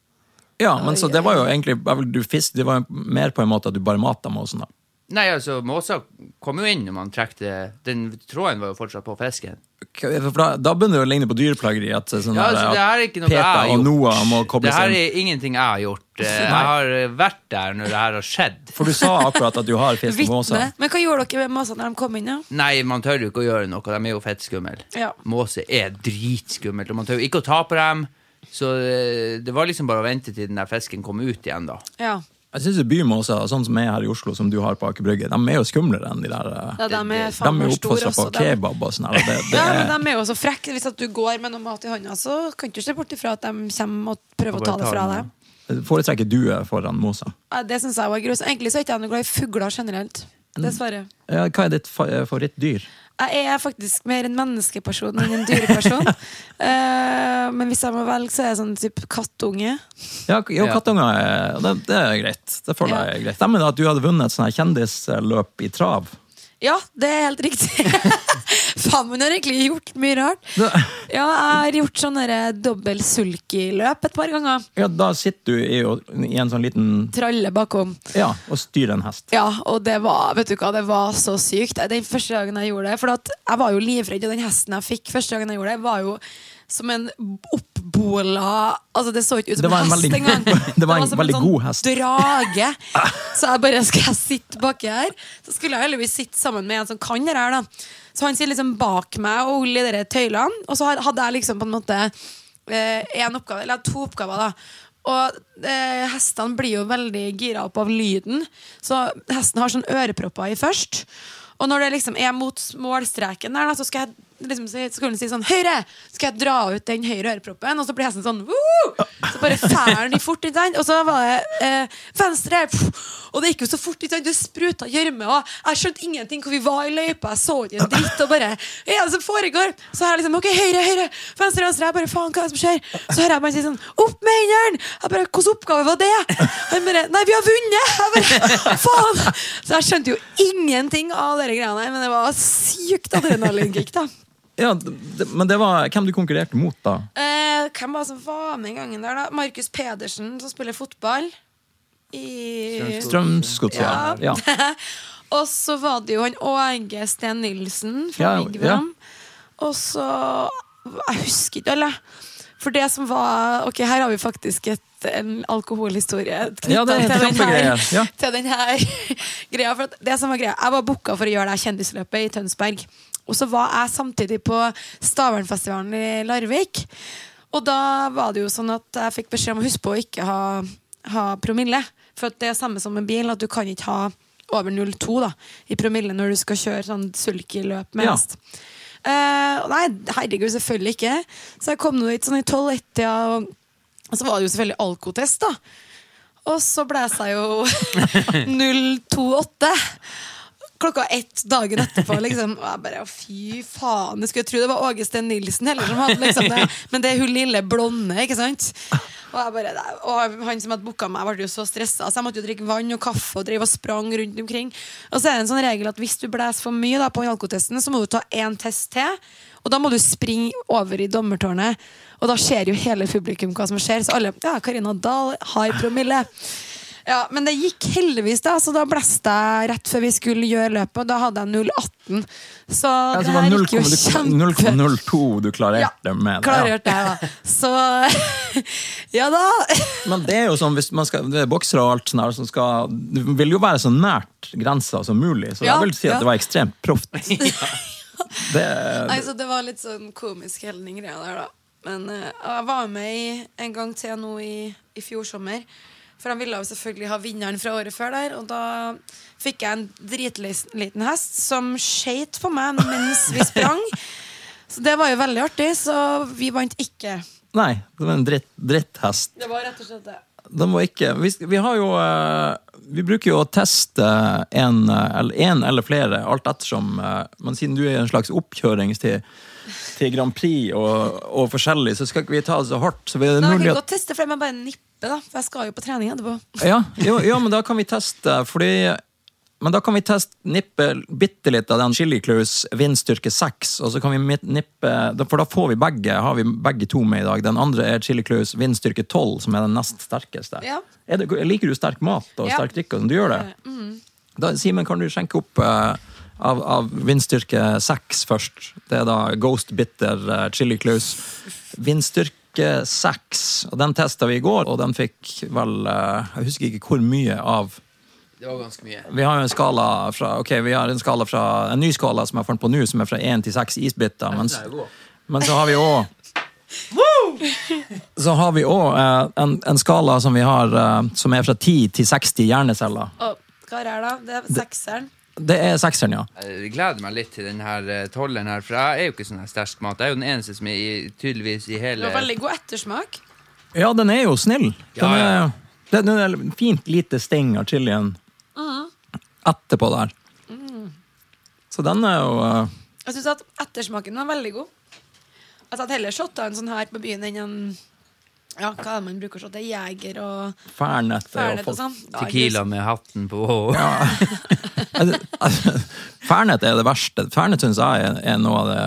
S2: ja, men så
S3: Oi,
S2: det var jo egentlig jeg vil- du fisk, Det var jo mer på en måte at du bare mata måsen, da.
S1: Nei, altså, måsa kom jo inn når man trekte Den tråden var jo fortsatt på fisken.
S2: For da, da begynner det å ligne på dyreplageri. At, sånn
S1: Ja,
S2: her,
S1: altså, det her er ikke noe
S2: at
S1: jeg har
S2: Peter og
S1: gjort.
S2: Noah må
S1: Det
S2: kobles
S1: her
S2: inn.
S1: er ingenting jeg har gjort. Eh, Jeg har eh, vært der når det her har skjedd.
S2: For du sa akkurat at du har fisk på måsa.
S3: Vitne. Men hva gjorde dere med måsene når de kom inn? Ja?
S1: Nei, man tør jo ikke å gjøre noe. De er jo fettskumle.
S3: Ja.
S1: Måse er dritskummelt, og man tør jo ikke å ta på dem. Så eh, det var liksom bare å vente til den der fisken kom ut igjen, da.
S3: Ja.
S2: Jeg syns bymåser, sånn som er her i Oslo, som du har på Aker Brygge, de er jo skumlere enn de der eh,
S3: ja, de er
S2: De
S3: faen
S2: er
S3: meg
S2: jo
S3: store
S2: oppfostra på
S3: også. de.
S2: kebab og sånn. her, og Det, det,
S3: Ja,
S2: er-
S3: men de er jo så frekke. Hvis at du går med noe mat i hånda, så kan du ikke se bort ifra at de kommer og prøver
S1: Og
S3: å
S1: bare
S3: ta det
S1: tar
S3: fra
S1: den,
S3: deg.
S2: foretrekker due foran mosa.
S3: Ja, Det syns jeg var grus. Egentlig så er ikke jeg noe glad i fugler generelt.
S2: Mm.
S3: Dessverre.
S2: Ja, Hva er ditt fa- eh, favorittdyr?
S3: Jeg er faktisk mer en menneskeperson enn en dyreperson. Eh, men hvis jeg må velge, så er jeg sånn type kattunge.
S2: Ja, k- jo,
S1: Ja.
S2: kattunger er- det, det er greit. Det føler jeg er greit. Stemmer det at du hadde vunnet et sånt her kjendisløp i trav?
S3: Ja, det er helt riktig. Faen, men jeg har egentlig gjort mye rart.
S2: Det,
S3: Ja, jeg har gjort sånn derre dobbel sulky-løp et par ganger.
S2: ja, da sitter du i, å- i en sånn liten
S3: Tralle bakom.
S2: Ja, og styrer en hest.
S3: Ja, og det var vet du hva, det var så sykt. Den første dagen jeg gjorde det For at jeg var jo livredd, og den hesten jeg fikk første dagen jeg gjorde det, var jo som en oppbola Altså, det så ikke ut som
S2: Det var en
S3: en hest
S2: veldig-
S3: engang.
S2: det var en
S3: som
S2: veldig
S3: sånn
S2: god hest.
S3: drage. Så jeg bare Skal jeg sitte baki her? Så skulle jeg heldigvis sitte sammen med en som kan det her, da. Så han sitter liksom bak meg og holder i de der tøylene, og så hadde jeg liksom på en måte eh, en oppgave, eller to oppgaver, da. Og eh, hestene blir jo veldig gira opp av lyden, så hesten har sånn ørepropper i først. Og når det liksom er mot målstreken der, da, så skal jeg liksom si, skulle den si sånn Høyre! Så skal jeg dra ut den høyre øreproppen, og så blir hesten sånn Woo! Så bare fær den i fort, ikke sant? Og så var det eh, venstre! Pff, og det gikk jo så fort, ikke sant? Det spruta gjørme, og jeg skjønte ingenting hvor vi var i løypa, jeg så ikke en dritt, og bare Hva er det som foregår? Så har jeg liksom OK, høyre, høyre, venstre, venstre. Jeg bare faen, hva er det som skjer? Så hører jeg bare si sånn Opp med hendene! Jeg bare Hvilken oppgave var det? Han bare Nei, vi har vunnet! Jeg bare Faen! Så jeg skjønte jo ingenting av de greiene her, men det var sykt adrenalinkick, da.
S2: Ja, d- d- men det var hvem du konkurrerte mot, da?
S3: Eh, hvem var det som var med den gangen der, da? Markus Pedersen, som spiller fotball i
S2: Strømsgodset? Ja.
S3: Og så var det jo han Åge Steen Nilsen fra
S2: Ja,
S3: Vigvam. Og så Jeg husker ikke, eller? For det som var Ok, her har vi faktisk et, en alkoholhistorie knyttet
S2: Ja, det er
S3: til, den her,
S2: kjempegreie, ja.
S3: til den her greia. For at det som var greia, jeg var booka for å gjøre det her kjendisløpet i Tønsberg. Og så var jeg samtidig på Stavernfestivalen i Larvik. Og da var det jo sånn at jeg fikk beskjed om å huske på å ikke ha, ha promille. For at det er samme som en bil, at du kan ikke ha over 0,2 da, i promille når du skal kjøre sånn sulkiløp med
S2: Ja.
S3: hest. Eh, og nei, herregud, selvfølgelig ikke. Så jeg kom nå dit sånn i 12-1-tida, og, og så var det jo selvfølgelig alkotest, da. Og så blæsa jeg jo 028. Klokka ett dagen etterpå, liksom. Og jeg bare, å, fy faen. Jeg skulle tro det var Åge Steen Nilsen heller som hadde liksom det. Men det er hun lille blonde, ikke sant? Og, jeg bare, nei, og han som hadde booka meg, ble jo så stressa, så jeg måtte jo drikke vann og kaffe og drive og sprang rundt omkring. Og så er det en sånn regel at hvis du blæser for mye da, på alkotesten, så må du ta én test til. Og da må du springe over i dommertårnet, og da ser jo hele publikum hva som skjer. Så alle Ja, Karina Dahl, high promille. Ja, Men det gikk heldigvis, da, så da blæste jeg rett før vi skulle gjøre løpet. og Da hadde jeg 0,18. Så
S2: Ja, så
S3: det
S2: Altså, det var
S3: her gikk jo
S2: 0,0
S3: kjempe...
S2: 0,02 du klarerte med. det, ja.
S3: Klargjort det, da. Så Ja da.
S2: Men det er jo sånn, hvis man skal, det er boksere og alt sånn her som skal Det vil jo være så nært grensa som mulig, så
S3: Ja,
S2: jeg vil si at
S3: ja.
S2: det var ekstremt proft. Det,
S3: Nei, så det var litt sånn komisk hele den greia der, da. Men eh, jeg var med i, en gang til nå i, i fjor sommer. For han ville jo selvfølgelig ha vinneren fra året før der. Og da fikk jeg en dritliten hest som skeit på meg mens vi sprang. Så det var jo veldig artig, så vi vant ikke.
S2: nei, det var en dritt, dritthest.
S3: Det var rett og slett det.
S2: De må ikke vi, vi har jo eh, Vi bruker jo å teste en, eh, eller- en eller flere, alt ettersom. eh, Men siden du er i en slags oppkjøring til, til Grand Prix og, og forskjellig, så skal ikke vi ta det så hardt. Så vi er
S3: Nei, jeg
S2: mulig
S3: kan
S2: at
S3: godt teste flere, men bare nippe, da. For jeg skal jo på trening etterpå.
S2: Ja, jo, ja, men da kan vi teste, fordi men da kan vi teste, nippe bitte litt av den Chili Close vindstyrke 6, og så kan vi mit- nippe, da- for da får vi begge, har vi begge to med i dag. Den andre er Chili Close vindstyrke 12, som er den nest sterkeste.
S3: Ja.
S2: Er det, liker du sterk mat og
S3: Ja.
S2: sterk drikke? og sånn? Du gjør det? Da, Simen, kan du skjenke opp eh, av, av vindstyrke 6 først? Det er da Ghost Bitter eh, Chili Close. Vindstyrke 6, og den testa vi i går, og den fikk vel eh, Jeg husker ikke hvor mye av
S1: Det var ganske mye.
S2: vi har jo en skala fra Ok, vi har en skala fra En ny skala som jeg fant på nå, som er fra én til seks isbiter. Men,
S1: Den er jo god.
S2: men så har vi òg Så har vi òg eh, en, en skala som vi har eh, som er fra 10 til 60 hjerneceller.
S3: Og hva er det, her da? Det er sekseren.
S2: Det er sekseren, ja.
S1: Jeg gleder meg litt til den her eh, tolleren her, for jeg er jo ikke sånn her sterk mat. Jeg er jo den eneste som er i, tydeligvis i
S3: Det
S1: hele
S3: var veldig god ettersmak.
S2: Ja, den er jo snill.
S1: Ja,
S2: Den
S1: ja.
S2: er, det, det er en fint lite sting av chilien etterpå der. Så den er jo eh,
S3: Jeg synes at ettersmaken var veldig god. Jeg hadde heller shotta en sånn her på byen enn en ja, hva er det man bruker å shotte? Jeger og
S2: fæl etter å
S3: fernet og
S2: få
S3: sånn. Ja,
S1: Tequila med hatten på.
S2: Altså, altså, Fernet er det verste. Fernet syns jeg er, er noe av det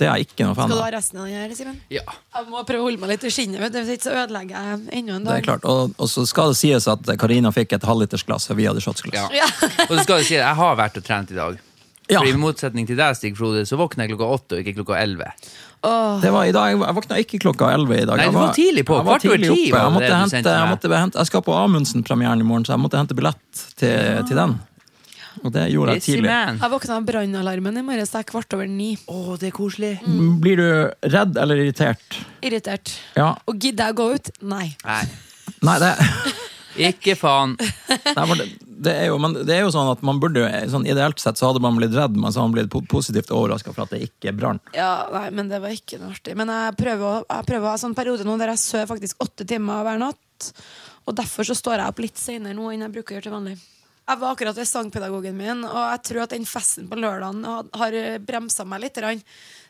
S2: Det er jeg ikke noe fan
S3: Skal du ha
S2: av.
S3: resten av den her, Simen?
S1: Ja.
S3: Jeg må prøve å holde meg litt i skinnet, vet du, hvis ikke så ødelegger jeg enda en
S2: Det er
S3: dag.
S2: klart. Og, og så skal det sies at Karina fikk et halvlitersglass, og vi hadde shotsglass.
S1: ja. Og så skal jeg si at jeg har vært og trent i dag.
S2: Ja.
S1: For I motsetning til deg, Stig Frode, så våkner jeg klokka åtte og ikke klokka elleve.
S3: Åh,
S2: Det var i dag, Jeg våkna ikke klokka elleve i dag.
S1: Nei,
S2: Jeg
S1: du var tidlig på.
S2: jeg var
S1: Kvart over
S2: tidlig
S1: ti
S2: oppe.
S1: var det det
S2: Jeg,
S1: du
S2: måtte hente,
S1: sendte meg.
S2: jeg, måtte hente, jeg skal på Amundsen-premieren i morgen, så jeg måtte hente billett til, til den. Og det gjorde jeg
S1: Busy
S2: tidlig.
S1: man.
S3: Jeg våkna av brannalarmen i morges, det er kvart over ni.
S1: Å, det er koselig.
S2: Blir du redd eller irritert?
S3: Irritert.
S2: Ja.
S3: Og gidder jeg å gå ut? Nei.
S1: Nei,
S2: Nei, det
S1: ikke faen.
S2: Nei, men det, det, er jo, men det er jo sånn at man burde jo- sånn Ideelt sett så hadde man blitt redd, men så har man blitt po- positivt overraska for at det ikke brant.
S3: Ja, nei, men det var ikke noe artig. Men jeg prøver, å, jeg prøver å ha sånn periode nå der jeg sover faktisk åtte timer hver natt. Og derfor så står jeg opp litt senere nå enn jeg bruker å gjøre til vanlig. Jeg var akkurat ved sangpedagogen min, og jeg tror at den festen på lørdagen har- har bremsa meg litt. grann.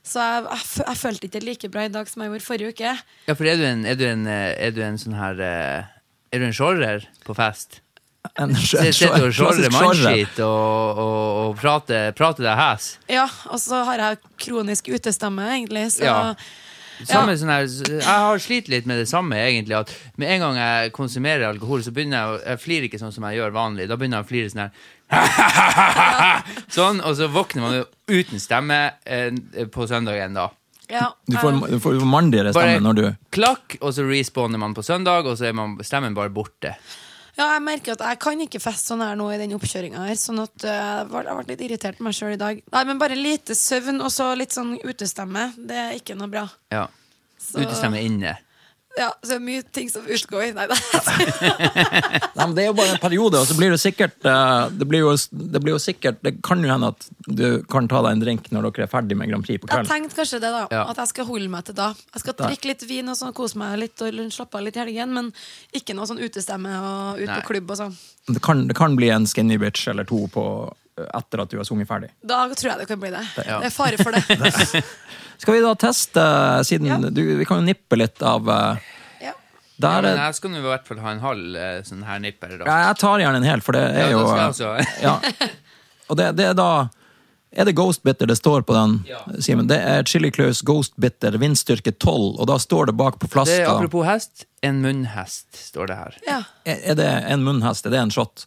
S3: Så jeg, jeg, fø- jeg følte ikke det like bra i dag som jeg gjorde forrige uke.
S1: Ja, for er du en, er du en, eh, er du en sånn her eh, Er du en sjorrer på fest?
S2: En, sj- en,
S1: Sitter du og sjorrer
S2: sj- klassisk sjorre.
S1: mannskitt og, og, og prater, prater deg hes?
S3: Ja, Og så har jeg kronisk utestemme, egentlig. Så
S1: Ja. Samme sånn her, jeg har slitt litt med det samme, egentlig. At med en gang jeg konsumerer alkohol, så begynner jeg å jeg flirer ikke sånn som jeg gjør vanlig. Da begynner jeg å flire sånn her. sånn, og så våkner man jo uten stemme eh, på søndagen da.
S3: Ja,
S2: Du får, du får mandigere stemme når du
S1: klakk, og så respawner man på søndag, og så er man, stemmen bare borte.
S3: Ja, jeg merker at jeg kan ikke feste sånn her nå i den oppkjøringa her. Sånn at eh, jeg ble- jeg ble litt irritert på meg sjøl i dag. Nei, men bare lite søvn og så litt sånn utestemme. Det er ikke noe bra.
S1: Ja.
S3: Så,
S1: Utestemme inne.
S3: Ja, så det er mye ting som utgår. Nei da.
S2: Nei, men Det er jo bare en periode, og så blir det sikkert eh, Det blir jo, det blir jo sikkert Det kan jo hende at du kan ta deg en drink når dere er ferdig med Grand Prix på
S3: Jeg
S2: kvelden.
S3: tenkte kanskje det, da.
S1: Ja.
S3: At jeg skal holde meg til da. Jeg skal drikke litt vin og sånn, kose meg litt og slappe av litt i helgen, men ikke noe sånn utestemme og ut
S1: Nei.
S3: på klubb og sånn.
S2: Det kan, det kan bli en skinny bitch eller to på, eh, etter at du har sunget ferdig.
S3: Da tror jeg det kan bli det.
S1: Ja.
S3: Det er fare for det.
S2: Skal vi da teste, eh, siden
S3: Ja.
S2: du, vi kan jo nippe litt av eh,
S3: ja.
S1: Ja,
S2: Der
S1: men
S2: er
S1: jeg skal nå i hvert fall ha en halv eh, sånn her nipper.
S2: Ja,
S1: Da.
S2: jeg tar gjerne en hel, for det er
S1: Ja,
S2: jo
S1: da
S2: eh,
S1: skal jeg også.
S2: ja. Og det, det er da Er det Ghost Bitter det står på den,
S1: Ja.
S2: Simen? Det er Chili Claus Ghost Bitter, vindstyrke 12, og da står det bak på
S1: Det
S2: flaska
S1: er, apropos hest, en munnhest står det her.
S3: ja.
S2: Er er det en munnhest? Er det en shot?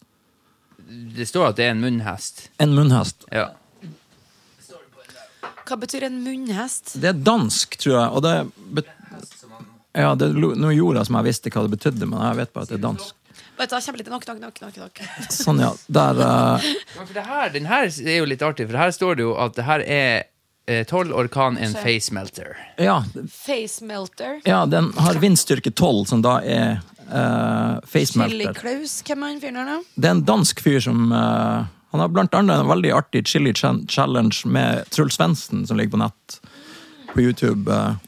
S1: Det står at det er en munnhest.
S2: En munnhest.
S1: Ja.
S3: Hva betyr en munnhest?
S2: Det er dansk, tror jeg, og det bet- ja, det, lo- Nå gjorde jeg som jeg visste hva det betydde, men jeg vet bare at det er dansk.
S3: Vet du, jeg kommer litt nok, nok, nok, nok, nok.
S2: Sånn, ja. Der eh,
S1: Men for det her, den her er jo litt artig, for her står det jo at det her er eh, tolv orkan en
S3: Se.
S1: face melter.
S2: Ja,
S3: Face melter.
S2: ja den har vindstyrke 12, som da er uh,
S3: Chili
S2: facemelter.
S3: Klaus, hvem er han fyren her nå?
S2: Det er en dansk fyr som eh, Han har blant annet en veldig artig chili ch- challenge med Truls Svendsen, som ligger på nett på YouTube. eh.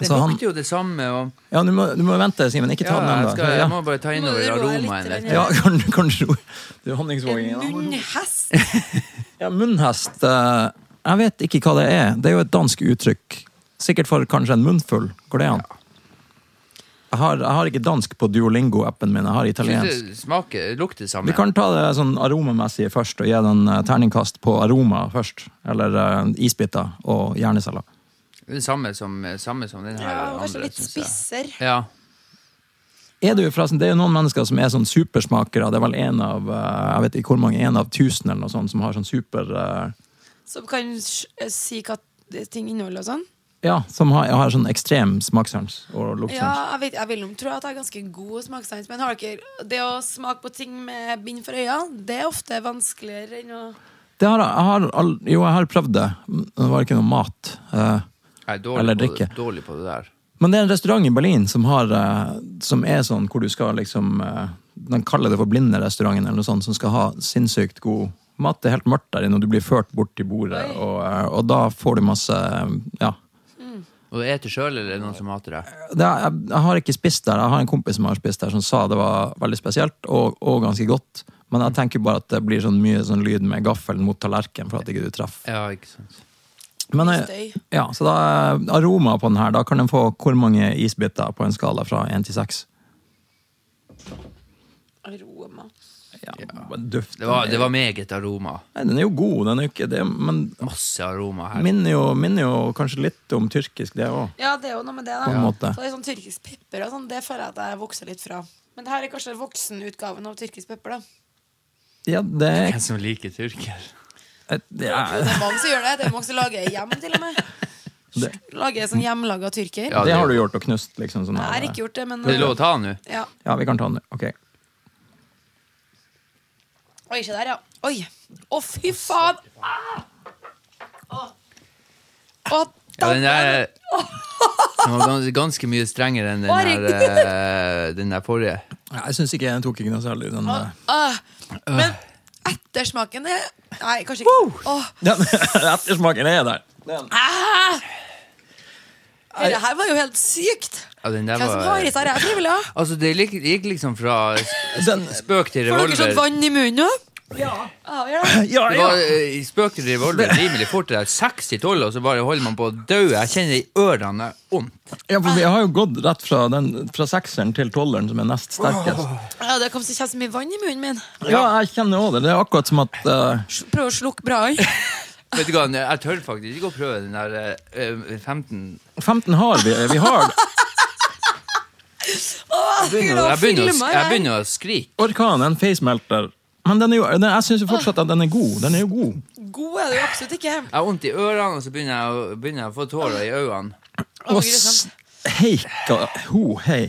S1: Det
S2: Så han,
S1: lukter jo det samme, og
S2: ja, du, må, du må vente, Simen. Ikke
S1: ja,
S2: ta
S1: jeg,
S2: den
S1: skal,
S2: ennå.
S1: jeg
S2: Ja,
S1: må bare ta
S3: Må
S1: innover
S3: du roe deg litt,
S1: aromaen litt.
S3: Renée?
S2: ja, kan, kan du Du er honningsvågingen.
S3: En
S2: da.
S3: munnhest?
S2: Ja, munnhest eh, Jeg vet ikke hva det er. Det er jo et dansk uttrykk. Sikkert for kanskje en munnfull. Går det an? Jeg har, jeg har ikke dansk på Duolingo-appen min. Jeg har
S1: Synes
S2: italiensk.
S1: det smaker, lukter det
S2: Vi
S1: samme.
S2: kan ta det sånn aromamessig først, og gi den eh, terningkast på aroma først. Eller eh, isbiter og hjerneceller.
S1: Det samme som, samme som den her.
S3: Ja,
S1: andre,
S3: kanskje litt
S1: synes jeg.
S3: spisser.
S1: Ja.
S2: Er det, jo forresten, det er jo noen mennesker som er sånn supersmakere. Det er vel en av eh, jeg vet ikke hvor mange, en av tusen eller noe sånt som har sånn super eh,
S3: Som kan s- eh, si hva ting inneholder og sånn.
S2: Ja, som har, har sånn ekstrem smakssans og luktesans.
S3: Ja, jeg, vet, jeg vil jo tro at jeg er ganske god smakssans, men har dere det å smake på ting med bind for øya, det er ofte vanskeligere enn å
S2: Det har, jeg- jeg har all, jo, jeg har prøvd det. men Det var ikke noe mat. eh,
S1: Jeg er dårlig,
S2: Eller
S1: på,
S2: drikke.
S1: det- dårlig på det der.
S2: Men det er en restaurant i Berlin som, har, eh, som er sånn hvor du skal liksom eh, De kaller det for blinderestauranten, eller noe sånt, som skal ha sinnssykt god mat. Det er helt mørkt der inne, og du blir ført bort til bordet,
S3: Oi.
S2: og, eh, og da får du masse eh, Ja.
S1: Og du eter sjøl, eller er det noen som hater deg?
S2: Det er, jeg, jeg har ikke spist der. Jeg har en kompis som har spist der, som sa det var veldig spesielt og, og ganske godt. Men jeg tenker bare at det blir sånn mye sånn lyd med gaffelen mot tallerkenen for at ikke du treffer.
S1: Ja, ikke sant.
S2: Men,
S3: Mye
S2: eh,
S3: støy.
S2: ja, så da eh, aroma på den her, da kan den få hvor mange isbiter på en skala fra 1 til 6?
S3: aroma.
S2: Ja, men duft.
S1: Det var,
S2: den er-
S1: det var meget aroma.
S2: Nei, den er jo god, den er jo ikke det, men
S1: Masse aroma her.
S2: minner jo, minner jo kanskje litt om tyrkisk, det òg.
S3: Ja, det er jo noe med det, da.
S2: På en måte.
S3: Så det er sånn tyrkisk pepper og sånn, det føler jeg at jeg vokser litt fra. Men det her er kanskje voksenutgaven av tyrkisk pepper, da.
S2: Ja, det er
S1: som liker tyrker.
S2: det er-
S3: Det er mange som gjør det. Det er mange som lager hjem, til og med. Lager sånn hjemmelaga tyrker.
S1: Ja,
S2: Det
S1: det-
S2: har du gjort og knust, liksom? Sånn,
S3: Jeg har
S2: her.
S3: ikke gjort det, men
S1: Det er lov å ta nå.
S3: ja.
S2: Ja, vi kan ta den. nå. Ok.
S3: Oi, se der, ja. Oi. Å, fy faen! Ah! Å,
S1: Ja,
S3: da-
S1: den der den var gans- ganske mye strengere enn den der, eh, den der forrige.
S2: Nei, Jeg syns ikke jeg tok ikke noe særlig den eh.
S3: Ah. Men ettersmaken det Nei, kanskje ikke. Åh,
S2: Ja, men Ettersmaken er der. Den.
S3: ah. det her var jo helt sykt!
S1: Ja, den der
S3: Hvem som
S1: var
S3: har i seg det her frivillig? da?
S1: Altså, det gikk, gikk liksom fra s-
S2: den
S1: spøk til
S3: Får
S1: revolver.
S3: dere sånn
S1: Det
S3: vann i munnen nå? Ja. ja.
S2: ja,
S1: var eh, spøk til revolver rimelig fort. det der. Seks til tolv, og så bare holder man på å dø. Jeg kjenner i ørene vondt.
S2: ja, for vi har jo gått rett fra, den, fra sekseren til tolveren, som er nest sterkest.
S3: ja, det kom så kjennes så mye vann i munnen min.
S2: Ja, jeg kjenner òg det. Det er akkurat som at eh,
S3: Sl- Prøv å slukke brannen.
S1: Vet du hva, jeg tør faktisk ikke å prøve den der eh, 15
S2: 15 har vi. Vi har
S1: Jeg begynner,
S3: å
S1: jeg begynner, å,
S3: filme,
S1: sk-
S3: jeg.
S1: jeg begynner å skrike.
S2: Orkan, en facemelter. Men den er jo, den, jeg syns fortsatt at den er god. Den er jo god.
S3: God er du jo absolutt ikke.
S1: Jeg har vondt i ørene, og så begynner jeg, å- begynner jeg å få tårer i øynene.
S3: Å,
S2: Og
S3: grusomt.
S2: steika ho hei.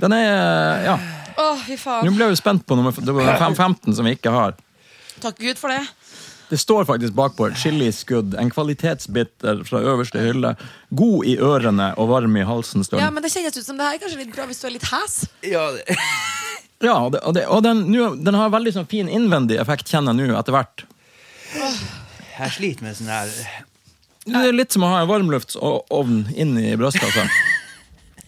S2: Den er eh, Ja.
S3: Å, fy
S2: Nå
S3: faen.
S2: ble jeg jo spent på nummer f- det var fem- 15, som vi ikke har.
S3: Takk Gud for det.
S2: Det står faktisk bakpå chiliskudd. En kvalitetsbitter fra øverste hylle. God i ørene og varm i halsen. Står
S3: Ja,
S2: den.
S3: men det kjennes ut som det her er kanskje litt bra hvis du er litt hæs.
S1: Ja, det-
S2: Ja, og, det, og, det, og den, nå- den har veldig sånn fin innvendig effekt, kjenner jeg nå, etter hvert.
S1: jeg sliter med sånn her
S2: Det er litt som å ha en varmluftsovn inn i altså. brystkassa.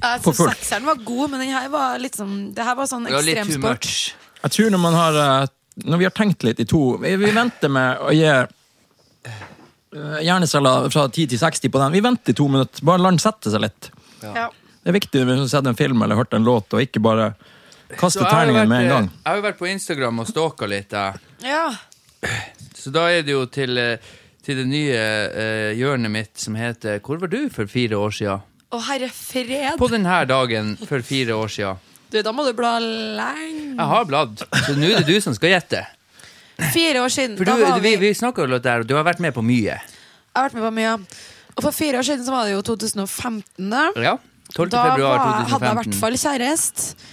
S3: Jeg
S2: På
S3: synes
S2: fullt.
S3: Sekseren var god, men den her var litt sånn Det her var sånn
S1: Det var litt too
S3: ekstremsport.
S1: much.
S2: Jeg tror når man har eh, Når vi har tenkt litt i to Vi, vi venter med å gi eh, hjerneceller fra 10 til 60 på den. Vi venter i to minutter. Bare la den sette seg litt.
S3: Ja.
S2: Det er viktig hvis du har sett en film eller hørt en låt, og ikke bare kaste
S1: Så jeg har jo
S2: terningen
S1: vært,
S2: med en
S1: eh,
S2: gang.
S1: Jeg har jo vært på Instagram og stalka litt, jeg.
S3: ja.
S1: Så da er det jo til, eh, til det nye eh, hjørnet mitt som heter 'Hvor var du for fire år sia?'
S3: Å, herre fred.
S1: På denne dagen for fire år sia.
S3: Du, da må du bla lenge.
S1: Jeg har bladd, så nå er det du som skal gjette.
S3: Fire år siden.
S1: For
S3: da
S1: du,
S3: var
S1: vi, vi snakker jo litt der, og du har vært med på mye.
S3: Jeg har vært med på mye. Og for fire år siden så var det jo 2015. Da,
S1: Ja. 12.
S3: da
S1: februar
S3: var- hadde jeg i hvert
S1: 2015.
S3: fall kjæreste.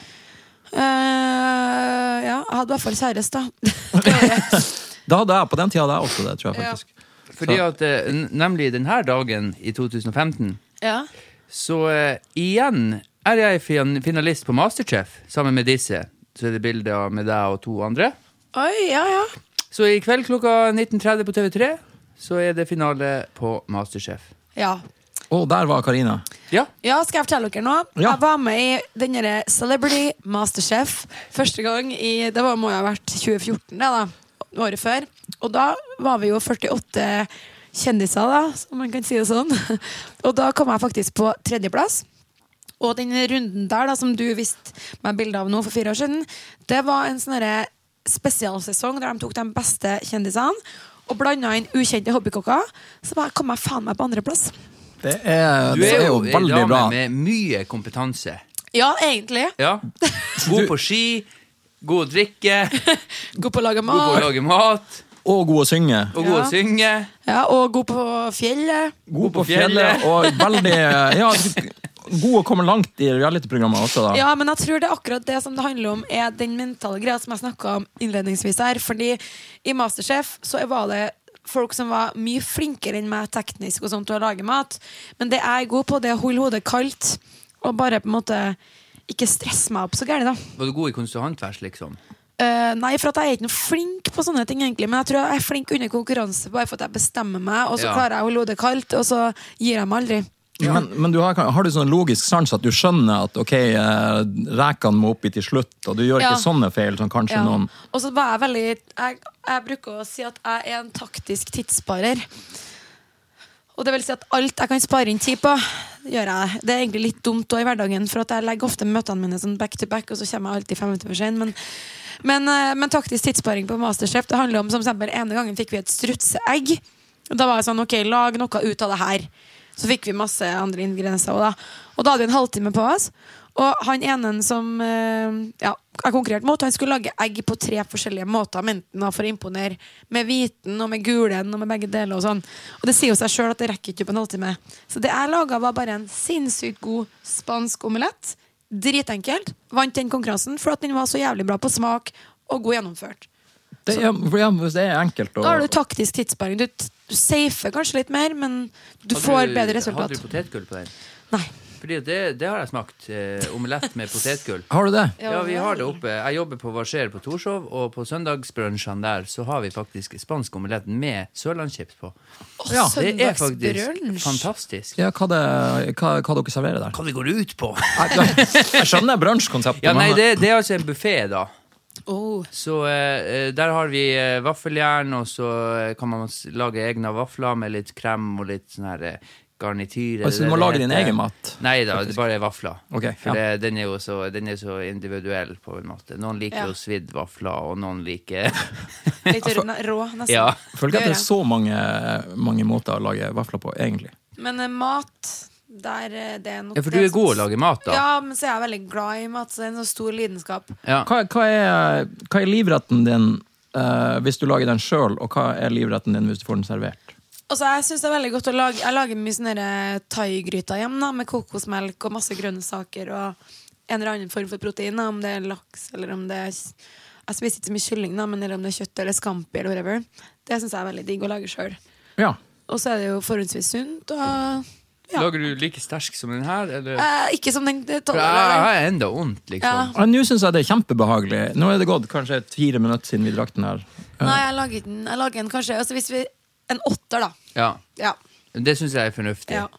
S3: Eh, ja, jeg hadde i hvert fall kjæreste, da. Det var det.
S2: Da hadde jeg, på den tida hadde jeg også det, tror jeg
S3: Ja.
S2: faktisk.
S1: Fordi at eh, n- nemlig denne dagen i 2015,
S3: ja.
S1: så eh, igjen er jeg fin- finalist på Masterchef sammen med disse. Så er det bilder av med deg og to andre.
S3: Oi, ja, ja.
S1: Så i kveld klokka 19.30 på TV3 så er det finale på Masterchef.
S3: ja.
S2: Og der var Karina.
S1: Ja.
S3: Ja, skal jeg fortelle dere noe?
S2: Ja.
S3: Jeg var med i den derre Celebrity Masterchef første gang i Det var, må jo ha vært 2014, det, da. Året før. Og da var vi jo 48 kjendiser, da, om man kan si det sånn. Og da kom jeg faktisk på tredjeplass. Og den runden der da, som du viste meg bilde av nå for fire år siden, det var en sånn herre spesialsesong der de tok de beste kjendisene og blanda inn ukjente hobbykokker. Så da kom jeg faen meg på andreplass.
S2: Det er,
S1: Du
S2: det
S1: er jo
S2: jo
S1: en
S2: veldig
S1: dame
S2: bra.
S1: med mye kompetanse.
S3: Ja, egentlig.
S1: Ja. God på ski, god å drikke,
S3: God på å lage
S1: god på å
S3: mat.
S1: lage mat,
S2: Og god å synge.
S1: og god
S3: Ah. Ja.
S1: å synge.
S3: Ja, og god på fjellet.
S2: God på fjellet og veldig ja, God å komme langt i reality-programmet også, da.
S3: Ja, men jeg tror det er akkurat det som det handler om, er den mentale greia som jeg snakka om innledningsvis her. Fordi i Masterchef så var det folk som var mye flinkere enn meg teknisk og sånt til å lage mat. Men det jeg er god på, det er å holde hodet kaldt og bare på en måte ikke stresse meg opp så gærent, da.
S1: Var du god i kunst og håndverk, liksom?
S3: Eh, nei, for at jeg er ikke noe flink på sånne ting, egentlig. Men jeg tror jeg er flink under konkurranse bare for at jeg bestemmer meg, og så
S1: Ja.
S3: klarer jeg å holde hodet kaldt, og så gir jeg meg aldri.
S2: Men, men du har, har du sånn logisk sans at du skjønner at ok, eh, rekene må oppi til slutt, og du gjør
S3: Ja.
S2: ikke sånne feil som kanskje
S3: Ja.
S2: noen
S3: Og så var jeg veldig jeg, jeg bruker å si at jeg er en taktisk tidssparer. Og det vil si at alt jeg kan spare inn tid på, gjør jeg. Det er egentlig litt dumt også i hverdagen, for at jeg legger ofte møtene mine sånn back to back, og så kommer jeg alltid fem minutter for sent. Men, men, eh, men taktisk tidssparing på Masterchef, det handler om som eksempel ene gangen fikk vi et strutseegg. Og Da var jeg sånn, ok, lag noe ut av det her. Så fikk vi masse andre ingredienser også da. Og da hadde vi en halvtime på oss. Og han ene som eh, ja, jeg konkurrerte mot, han skulle lage egg på tre forskjellige måter. men Enten da for å imponere med hviten og med gulen og med begge deler. Og sånn Og det sier jo seg sjøl at det rekker ikke på en halvtime. Så det jeg laga, var bare en sinnssykt god spansk omelett. Dritenkelt. Vant den konkurransen for at den var så jævlig bra på smak og god gjennomført.
S2: det er, ja, hvis det er enkelt.
S3: Da har du
S2: Og,
S3: taktisk tidssparing. Du t- du safer kanskje litt mer, men du
S1: Hadde
S3: får
S1: du-
S3: bedre resultat.
S1: Hadde du potetgull på den?
S3: Nei.
S1: Fordi det, det har jeg smakt. Eh, omelett med potetgull.
S2: har du det?
S1: Ja, vi har det oppe. Jeg jobber på Varser på Torshov, og på søndagsbrunsjene der så har vi faktisk spansk omelett med sørlandschips på.
S3: Å,
S2: Ja,
S1: Det er
S3: søndagsbrunsj.
S1: faktisk fantastisk.
S2: Ja, hva, det, hva, hva dere serverer der?
S1: Hva det går ut på?
S2: Jeg, jeg skjønner brunsjkonseptet.
S1: Ja, nei,
S2: men-
S1: det, det er altså en buffé, da.
S3: Åh.
S1: Så eh, eh, der har vi eh, vaffeljern, og så eh, kan man s- lage egne vafler med litt krem og litt sånn her eh, garnityret
S2: Altså, du må lage din egen mat.
S1: Nei da, det er bare vafler.
S2: Ok,
S1: For
S2: ja.
S1: det, den, er jo så, den er så individuell, på en måte. Noen liker
S3: Ja.
S1: jo svidd vafler, og noen liker
S3: Litt rå, rå nesten.
S1: Altså- Ja.
S2: Jeg føler ikke at det
S3: Det
S2: er så mange, mange måter å lage vafler på, egentlig.
S3: Men eh, mat, der eh, det er noe
S1: ja, for du er god å lage mat, da.
S3: Ja, men så er jeg veldig glad i mat. Så det er en så stor lidenskap.
S1: Ja.
S2: Hva, hva, er, hva er livretten din eh, hvis du lager den sjøl, og hva er livretten din hvis du får den servert?
S3: Og så jeg synes det er veldig godt å lage Jeg lager mye sånne der eh, thaigryter hjemme da, med kokosmelk og masse grønnsaker og en eller annen form for protein, da, om det er laks eller om det er Jeg spiser ikke så mye kylling, da, men eller om det er kjøtt eller scampi eller whatever. Det syns jeg er veldig digg å lage sjøl.
S2: Ja.
S3: Og så er det jo forholdsvis sunt. Og ja.
S1: Lager du like sterk som den her, eller?
S3: Eh, ikke som den det
S1: For
S3: tåler
S1: jeg
S3: jeg.
S1: har enda vondt, liksom.
S3: Ja.
S2: Ja, Nå syns jeg det er kjempebehagelig. Nå er det gått kanskje fire minutter siden vi drakk den her.
S3: Nei, jeg lager den Jeg lager en kanskje altså hvis vi, En åtter, da.
S1: Ja.
S3: Ja.
S1: Det syns jeg er fornuftig.
S3: ja.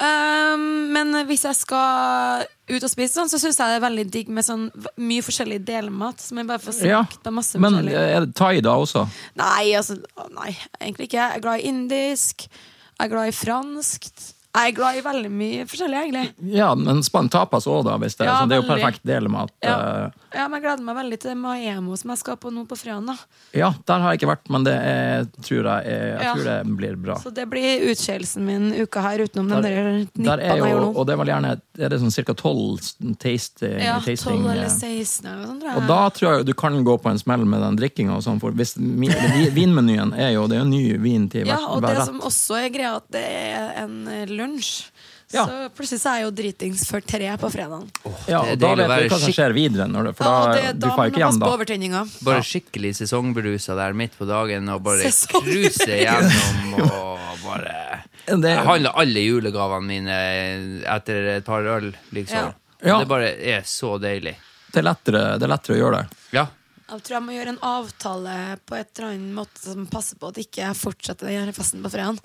S3: Ehm, men hvis jeg skal ut og spise sånn, så syns jeg det er veldig digg med sånn v- mye forskjellig delmat. Som jeg bare får
S2: Ja,
S3: smakt av masse
S2: Men eh,
S3: forskjellig.
S2: er det thai da også?
S3: Nei, altså å, Nei, egentlig ikke. Jeg er glad i indisk. Jeg er glad i fransk. Jeg er glad i veldig mye forskjellig, egentlig.
S2: Ja, men spann tapas òg, da. Hvis det,
S3: Ja,
S2: så det er jo
S3: veldig.
S2: perfekt delmat.
S3: Ja.
S2: eh,
S3: Ja, men Jeg gleder meg veldig til det Maemo som jeg skal på nå på fredag. da.
S2: ja, der har jeg ikke vært, men det er, tror jeg, er, jeg
S3: Ja.
S2: tror det blir bra.
S3: Så det blir utskeielsen min uka her, utenom
S2: Der-
S3: den der
S2: Der
S3: nippene
S2: er
S3: jeg
S2: jo,
S3: gjorde nå.
S2: og det er vel gjerne er det sånn ca. 12 tasting,
S3: Ja, 12
S2: tasting
S3: eller
S2: eh,
S3: 16 eller noe sånt, tror jeg.
S2: Og da tror jeg jo du kan gå på en smell med den drikkinga. og Sånn, for hvis min, vi- vinmenyen er jo Det er jo ny vin til
S3: ja,
S2: hver,
S3: og
S2: hver
S3: det
S2: rett.
S3: som også er greia, at det er en eh, lunsj.
S2: Ja.
S3: Så plutselig så er jeg jo dritings før tre på fredagen.
S2: ja,
S1: det er deilig å
S2: og da vet du
S1: være
S2: hva som skjer videre, når det, for da,
S3: Ja, og det-
S2: du får
S3: må
S2: ikke
S3: man
S2: igjen
S3: passe
S2: da.
S3: på overtenninga.
S1: Bare skikkelig sesongbrusa der midt på dagen og bare
S3: Sesongbrusa.
S1: cruise gjennom og bare
S2: Det
S1: Jeg
S2: er-
S1: handler alle julegavene mine etter et par øl, liksom.
S2: Ja. Ja.
S1: Det bare er så deilig.
S2: det, er lettere, det er lettere å gjøre det.
S1: Ja.
S3: Jeg tror jeg må gjøre en avtale på et eller annet måte som passer på at ikke jeg fortsetter den her festen på fredagen.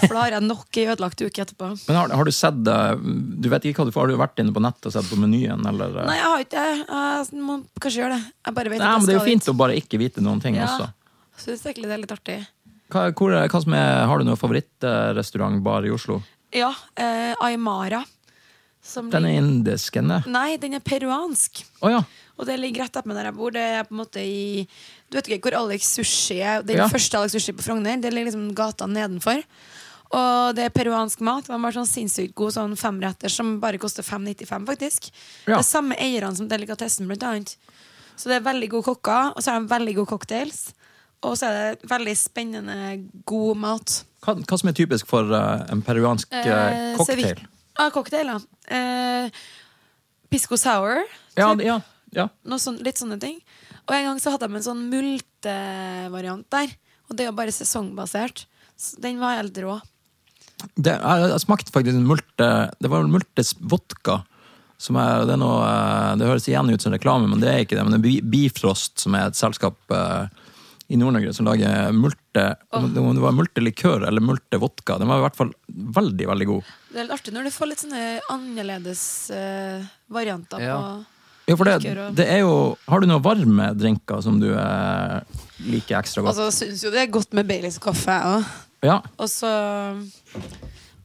S3: For da har jeg nok i ødelagt uke etterpå.
S2: Men har, har du sett eh, Du vet ikke hva du får, har du vært inne på nettet og sett på menyen, eller eh?
S3: Nei, jeg har ikke det. Jeg må kanskje gjøre det. Jeg bare vet
S2: Nei,
S3: at jeg
S2: men det er jo
S3: skal
S2: fint å bare ikke vite noen ting
S3: Ja.
S2: også.
S3: Jeg synes egentlig det er litt artig.
S2: Hva, hvor, er- hva som er, har du noen favorittrestaurant bare i Oslo?
S3: Ja, eh, Aymara. Som
S2: Den
S3: ligger-
S2: er indisk, den er.
S3: Nei, den er peruansk.
S2: Å ja.
S3: Og det ligger rett oppe med der jeg bor. Det er på en måte i Du vet ikke hvor Alex Sushi er? Den
S2: Ja.
S3: første Alex Sushi på Frogner. Det ligger liksom gata nedenfor. Og det er peruansk mat. Den var sånn sinnssykt god sånn femretter som bare koster 5,95, faktisk.
S2: Ja.
S3: Det er samme eierne som delikatessen, blant annet. Så det er veldig gode kokker, og så har de veldig gode cocktails. Og så er det veldig spennende god mat.
S2: Hva, hva som er typisk for eh, en peruansk eh,
S3: Eh,
S2: cocktail?
S3: servi- Ja, cocktail, ja. Eh, pisco sour.
S2: Ja,
S3: typ.
S2: ja, ja.
S3: Noe sånn, litt sånne ting. Og en gang så hadde de en sånn multevariant der. Og det er jo bare sesongbasert. Så den var helt rå.
S2: Det, jeg, jeg smakte faktisk en multe Det var en multes vodka. Som er, det, er noe, eh, det høres igjen ut som reklame, men det er ikke det. Men det er Bi- Bifrost, som er et selskap eh, i Nord-Norge som lager multe om det- Om det var multelikør eller multevodka. Den var i hvert fall veldig, veldig god.
S3: Det er litt artig når du får litt sånne annerledes eh, varianter
S1: Ja.
S2: Ja, for det,
S3: Likør og-
S2: det er jo, har du noen varme drinker som du eh, liker ekstra
S3: på
S2: godt?
S3: Altså, syns jo det er godt med Baileys og kaffe, jeg òg.
S2: Ja.
S3: Og så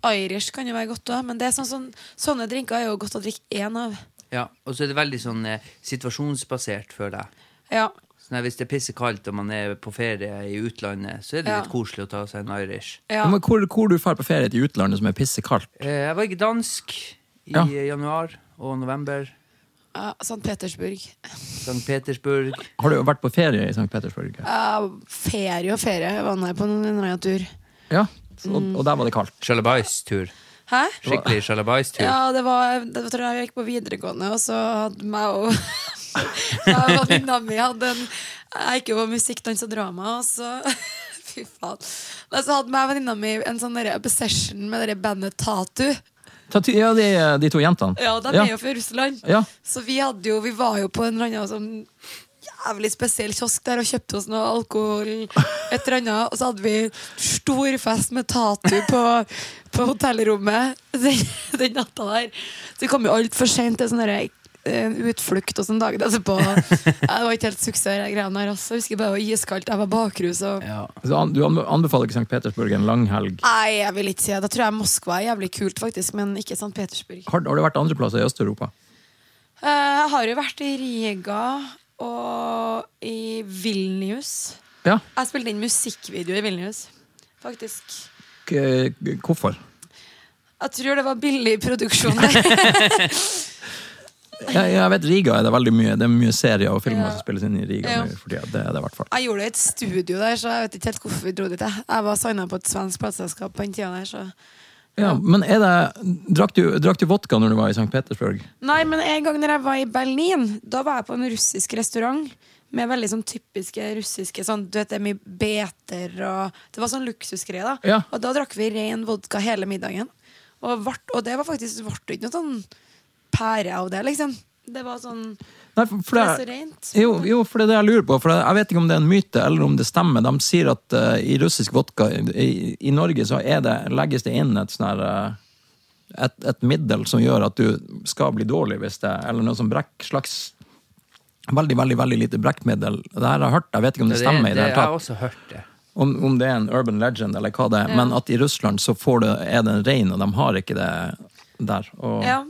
S3: eh, Irish kan jo være godt òg, men det er sånn, sånn, sånne drinker er jo godt å drikke én av.
S1: ja. Og så er det veldig sånn eh, situasjonsbasert, føler jeg.
S3: Ja.
S1: Sånn at hvis det er pissekaldt og man er på ferie i utlandet, så er det
S3: Ja.
S1: litt koselig å ta seg en Irish.
S3: ja.
S2: Men hvor, hvor du drar på ferie til utlandet som er pissekaldt?
S1: Eh, Jeg var i dansk i
S2: Ja.
S1: eh, januar og november.
S3: ja St. Petersburg.
S1: St. Petersburg.
S2: Har du vært på ferie i St. Petersburg?
S3: Ja, ferie og ferie. Jeg var nær på en eller annen tur.
S2: Ja, så, og, og der var det kaldt.
S1: Sjalabais-tur.
S3: Hæ?
S1: Skikkelig sjalabais-tur.
S3: Ja, det var Det tror jeg jeg gikk på videregående, og så hadde meg og meg og venninna mi hadde en Jeg gikk jo på musikk, dans og drama, og så Fy faen. Men så hadde meg og venninna mi en sånn derre obsession med det der bandet Tatu.
S2: Tatu, ja, de, de to jentene.
S3: Ja, de
S2: ja.
S3: er jo fra Russland.
S2: Ja.
S3: Så vi hadde jo Vi var jo på en eller annen sånn jævlig spesiell kiosk der og kjøpte oss noe alkohol, et eller annet. Og så hadde vi stor fest med Tatu på, på hotellrommet den, den natta der. Så vi kom jo altfor seint til sånn derre en utflukt og sånn dagen etterpå. Jeg var ikke helt suksess, de greiene her. Altså. Jeg husker bare det var iskaldt, jeg var bakrus. Og...
S1: Ja.
S2: Så an- du anbe- anbefaler ikke St. Petersburg en lang helg.
S3: Nei, jeg vil ikke si det. Da tror jeg Moskva er jævlig kult, faktisk, men ikke St. Petersburg.
S2: Har, har du vært andre plasser i Øst-Europa?
S3: Eh, Jeg har jo vært i Riga og i Vilnius.
S2: Ja.
S3: Jeg spilte inn musikkvideo i Vilnius, faktisk.
S2: K hvorfor?
S3: Jeg tror det var billig produksjon. der.
S2: Jeg, jeg vet Riga er det veldig mye Det er mye serier og filmer
S3: Ja.
S2: som spilles inn i Riga.
S3: Ja.
S2: nå for tida. Det er det i hvert fall.
S3: Jeg gjorde det i et studio der, så jeg vet ikke helt hvorfor vi dro dit. Jeg, jeg var signa på et svensk plateselskap på den tida der, så
S2: Ja, men er det, drakk, du, drakk du vodka når du var i St. Petersburg?
S3: Nei, men en gang når jeg var i Berlin, da var jeg på en russisk restaurant med veldig sånn typiske russiske sånn, Du vet, det er mye beter og Det var sånn luksusgreie, da.
S2: Ja.
S3: Og da drakk vi ren vodka hele middagen. Og, vart, og det var faktisk ble ikke noe sånn pære av det, liksom. Det var sånn
S2: Nei, for, for
S3: Det er så
S2: det,
S3: rent.
S2: jo, jo, for det er det jeg lurer på. For det, jeg vet ikke om det er en myte, eller om det stemmer. De sier at eh, i russisk vodka i, i Norge så er det, legges det inn et sånn her eh, et, et middel som gjør at du skal bli dårlig hvis det Eller noe sånn brekk slags Veldig, veldig veldig lite brekkmiddel. Det her har jeg hørt, jeg vet ikke om det, stemmer. i det
S1: Jeg
S2: hele
S1: har
S2: tatt.
S1: også hørt det.
S2: Om, om det er en urban legend eller hva det er. Men at i Russland så får det, er det en rein, og de har ikke det der. Og,
S3: Ja.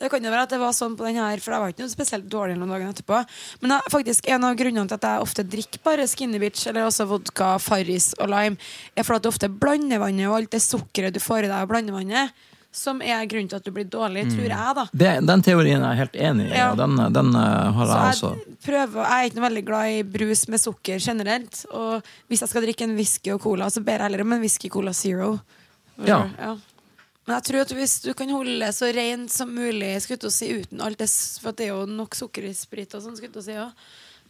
S3: Det kan jo være at det var sånn på den her, for jeg var ikke noe spesielt dårlig noen dager etterpå. Men jeg, faktisk en av grunnene til at jeg ofte drikker bare Skinny Bitch, eller også vodka, Farris og lime, er for at du ofte blander vannet og alt det sukkeret du får i deg av blandevannet, som er grunnen til at du blir dårlig, tror jeg, da.
S2: Det, den teorien er jeg helt enig i,
S3: Ja.
S2: og den, den eh, har jeg
S3: Så
S2: også.
S3: jeg, prøver, jeg er ikke noe veldig glad i brus med sukker generelt. Og hvis jeg skal drikke en whisky og cola, så ber jeg heller om en whisky cola zero.
S2: Ja.
S3: Men jeg tror at hvis du kan holde det så rent som mulig, skulle jeg til å si uten alt det s- For det er jo nok sukker i sprit og sånn, skulle jeg til å si ja.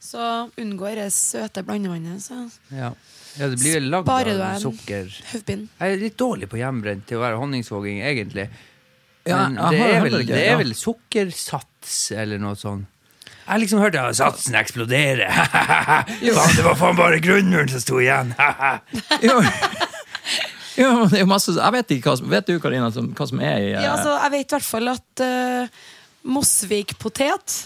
S3: Så unngår det søte blandevannet. Så
S1: Ja, ja det blir vel lagd
S3: Sparer du
S1: av
S3: en-
S1: sukker.
S3: hodepinnen.
S1: Jeg er litt dårlig på hjemmebrent til å være honningsvåging, egentlig.
S2: Ja,
S1: Men
S2: jeg
S1: det,
S2: har
S1: er
S2: heller
S1: vel,
S2: ikke-
S1: det
S2: ja.
S1: er vel sukkersats eller noe sånt. Jeg har liksom hørt at satsen eksploderer. Faen, det var faen bare grunnmuren som sto igjen.
S2: Jo. jo, men det er jo masse Jeg vet ikke hva som Vet du, Karina, som, hva som er i eh,
S3: Ja, altså, jeg vet i hvert fall at eh, Mosvik-potet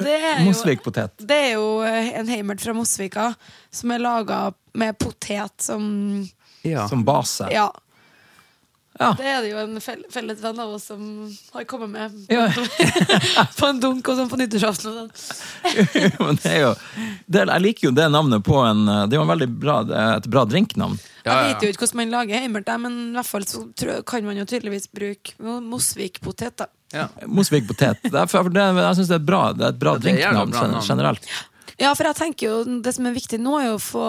S3: Det er jo
S2: Mosvik-potet?
S3: Det er jo eh, en heimert fra Mosvika som er laga med potet som
S1: Ja.
S2: Som base?
S3: Ja.
S2: Ja.
S3: Det er det jo en fell felles venn av oss som har kommet med
S2: Ja.
S3: på en dunk og sånn på nyttårsaften. Og sånn.
S2: Men det er jo det, Jeg liker jo det navnet på en eh, Det er jo en veldig bra, eh, et bra drinknavn.
S1: Ja, ja.
S3: Jeg vet jo ikke hvordan man lager heimert, der, men i hvert fall så tror, jeg- kan man jo tydeligvis bruke mo- Mosvik-potet. da
S1: Ja.
S2: Mosvik-potet. Det er- for det- Jeg syns det er et bra, det er et bra
S1: det er jævla
S2: drinknavn
S1: bra navn.
S2: gen- generelt.
S3: Ja, for jeg tenker jo det som er viktig nå, er jo å få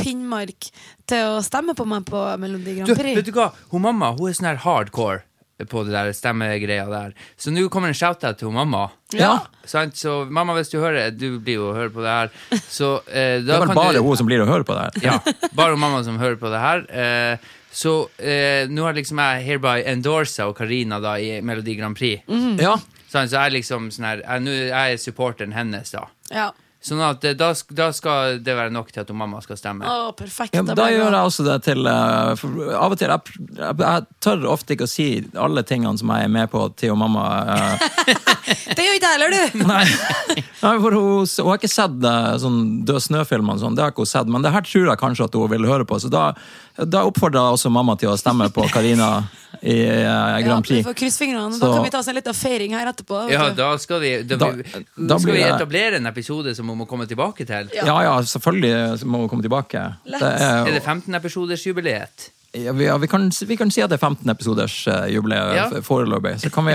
S3: Finnmark til å stemme på meg på Melodi
S1: Du,
S3: Grand
S1: vet
S3: Prix.
S1: du hva? Hun mamma hun er sånn her hardcore på det der stemmegreia der. Så nå kommer en shout-out til hun mamma.
S2: Ja.
S1: Sant? Så mamma, hvis du hører Du blir jo å høre på det her. Så eh,
S2: Det
S1: da
S2: er vel
S1: kan
S2: bare
S1: du
S2: hun som blir å høre på det her.
S1: Ja, bare mamma som hører på det her. Eh, så eh, nå har liksom jeg hereby endorsa og Karina da i Melodi Grand Prix.
S3: Mm.
S2: Ja.
S1: Sånn, så jeg er liksom sånn her, jeg, nå er jeg supporteren hennes, da.
S3: Ja.
S1: Sånn at eh, da, sk- da skal det være nok til at hun mamma skal stemme.
S3: Å, perfekt.
S2: Ja,
S3: da
S2: men da
S3: blir det-
S2: gjør jeg også det til eh, for Av og til jeg, pr- jeg, jeg tør ofte ikke å si alle tingene som jeg er med på til og mamma. eh,
S3: Det gjør ikke jeg heller, du!
S2: Nei, Nei for hun, hun har ikke sett eh, sånn Død snø-filmene, sånn. det har ikke hun sett, men det her tror jeg kanskje at hun vil høre på. Så da, da oppfordrer jeg også mamma til å stemme på Karina i eh, Grand
S3: Ja, vi
S2: Prix.
S3: får krysse fingrene.
S2: Så-
S3: Da kan vi ta oss en liten feiring her etterpå. vet
S1: Ja,
S3: du.
S1: da skal vi, da,
S2: Altså, Da- da
S1: skal
S2: blir
S1: vi
S2: jeg-
S1: etablere en episode som hun må komme tilbake til.
S2: Ja, ja, selvfølgelig må hun komme tilbake.
S3: Lett.
S1: Er
S2: er,
S1: det 15-episodersjubileet?
S2: ja, vi, ja, vi, kan, vi kan si at det er 15 episoders eh, jubileum
S1: Ja.
S2: f- foreløpig. Så kan vi,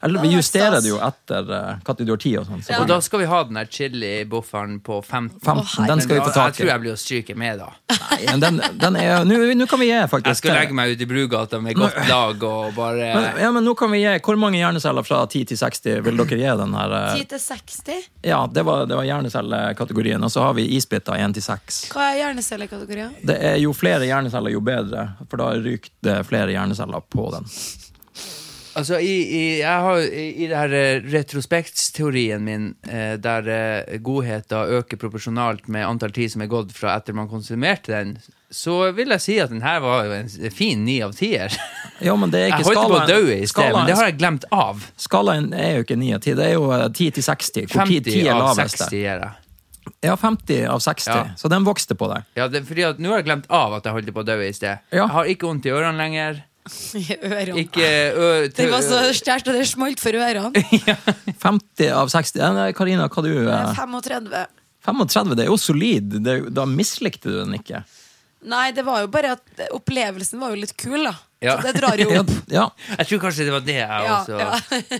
S2: eller vi
S3: Å,
S2: justerer
S3: stas.
S2: det jo etter eh, når du har tid og sånn.
S1: Og
S2: selvfølgelig.
S1: da skal vi ha den der chili-bufferen på 15.
S2: 15, den skal vi få
S1: Men da-
S2: tak i.
S1: Jeg tror jeg blir å stryke med, da.
S2: Nei, men den, den er Nå nå kan vi gi, faktisk.
S1: Jeg skal legge meg ut i Brugata med godt lag og bare
S2: men, ja, men nå kan vi gi, Hvor mange hjerneceller fra 10 til 60 vil dere gi den her? eh,
S3: 10 til 60?
S2: Ja, det var, det var hjernecellekategorien. Og så har vi isbiter 1 til 6.
S3: Hva er hjernecellekategorien?
S2: Det er jo flere hjerneceller, jo bedre. For da ryker det flere hjerneceller på den.
S1: Altså, i, i, jeg har, i, i det her eh, retrospektsteorien min, eh, der eh, godheten øker proporsjonalt med antall tid som er gått fra etter man konsumerte den, så vil jeg si at den her var jo en s- fin ni av tier.
S2: Ja, men det er
S1: Jeg
S2: ikke
S1: holdt på å
S2: skalaen-
S1: dø i sted, men
S2: skalaen-
S1: det har jeg glemt av.
S2: Skalaen er jo ikke 9 av 10, det er jo eh, 10 til 60. Hvor 10, 10
S1: 50
S2: er
S1: av
S2: lavest.
S1: 60 gjør jeg.
S2: Ja, 50 av 60.
S1: Ja.
S2: Så den vokste på deg.
S1: Ja, det, er fordi at nå har jeg glemt av at jeg holdt på å dø i sted.
S2: Ja.
S1: Jeg har ikke vondt i ørene lenger.
S3: I ørene.
S1: Ikke ø,
S3: Den var så
S1: tru-
S3: sterkt, og det smalt for ørene.
S2: 50 av 60. Ja, nei, Karina, hva du
S3: Jeg
S2: eh,
S3: er 35.
S2: 35, det er jo solid. Det, er jo- da mislikte du den ikke.
S3: Nei, det var jo bare at opplevelsen var jo litt kul, da.
S1: Ja.
S3: Så det drar jo
S2: Ja,
S3: opp.
S2: ja.
S1: Jeg tror kanskje det var det jeg
S3: Ja,
S1: også
S3: ja.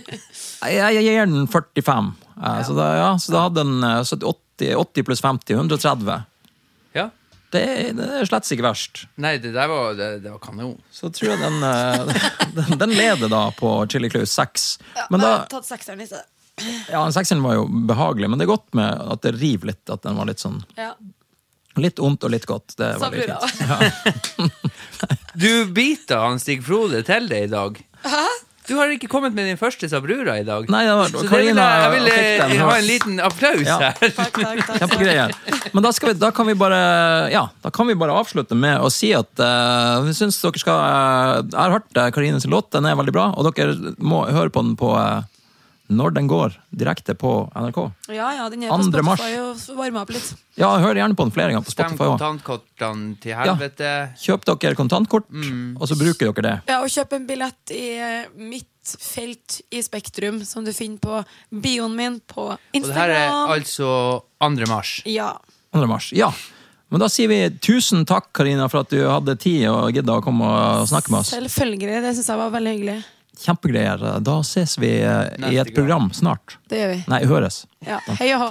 S2: Jeg, jeg gir den 45. eh, Så, da, ja, så da hadde den eh, 70, 80, 80 pluss 50, 130.
S1: Ja.
S2: Det, er- det er slett ikke verst.
S1: Nei, det der var, det, det var kanon.
S2: Så tror jeg den, eh, den, den leder da på Chili Close 6.
S3: Ja,
S2: Men
S3: jeg
S2: da,
S3: har tatt sekseren i stedet.
S2: ja, den sekseren var jo behagelig, men det er godt med at det river litt. At den var litt sånn
S3: Ja.
S2: Litt ondt og litt godt. Det er
S3: Så
S2: veldig
S3: blir det.
S2: fint.
S1: Du biter han Stig Frode til deg i dag. Du har ikke kommet med din første Sabrura i dag.
S2: Nei, det var-
S1: så det vil
S2: Karina
S1: jeg, jeg vil eh,
S2: fikk den
S1: ha
S2: her.
S1: en liten applaus
S2: Ja.
S1: her.
S3: Takk, takk, takk.
S2: Kjempegreier. Men da, skal vi, da, kan vi bare, ja, da kan vi bare avslutte med å si at eh, vi syns dere skal eh, Jeg har hørt eh, Karines låt, den er veldig bra, og dere må høre på den på eh, når den går direkte på NRK.
S3: Ja, ja, den er på
S2: Andre mars.
S3: Spotify og varmer opp litt.
S2: Ja, hør gjerne på den flere ganger på
S1: Stem
S2: Spotify. også.
S1: kontantkortene til helvete.
S2: Kjøp dere kontantkort,
S1: Mm.
S2: og så bruker dere det.
S3: Ja, og kjøp en billett i eh, mitt felt i Spektrum, som du finner på bioen min på
S1: Og det her er
S3: Instagram.
S1: altså 2. mars.
S3: Ja.
S2: 2. mars. Ja. Men da sier vi tusen takk, Karina, for at du hadde tid og gidda å komme og snakke med oss.
S3: Selvfølgelig. Det syns jeg var veldig hyggelig.
S2: Kjempegreier. Da ses vi eh, i
S1: Neste
S2: et program snart.
S3: Det gjør vi.
S2: Nei, høres.
S3: Ja. Hei og hå.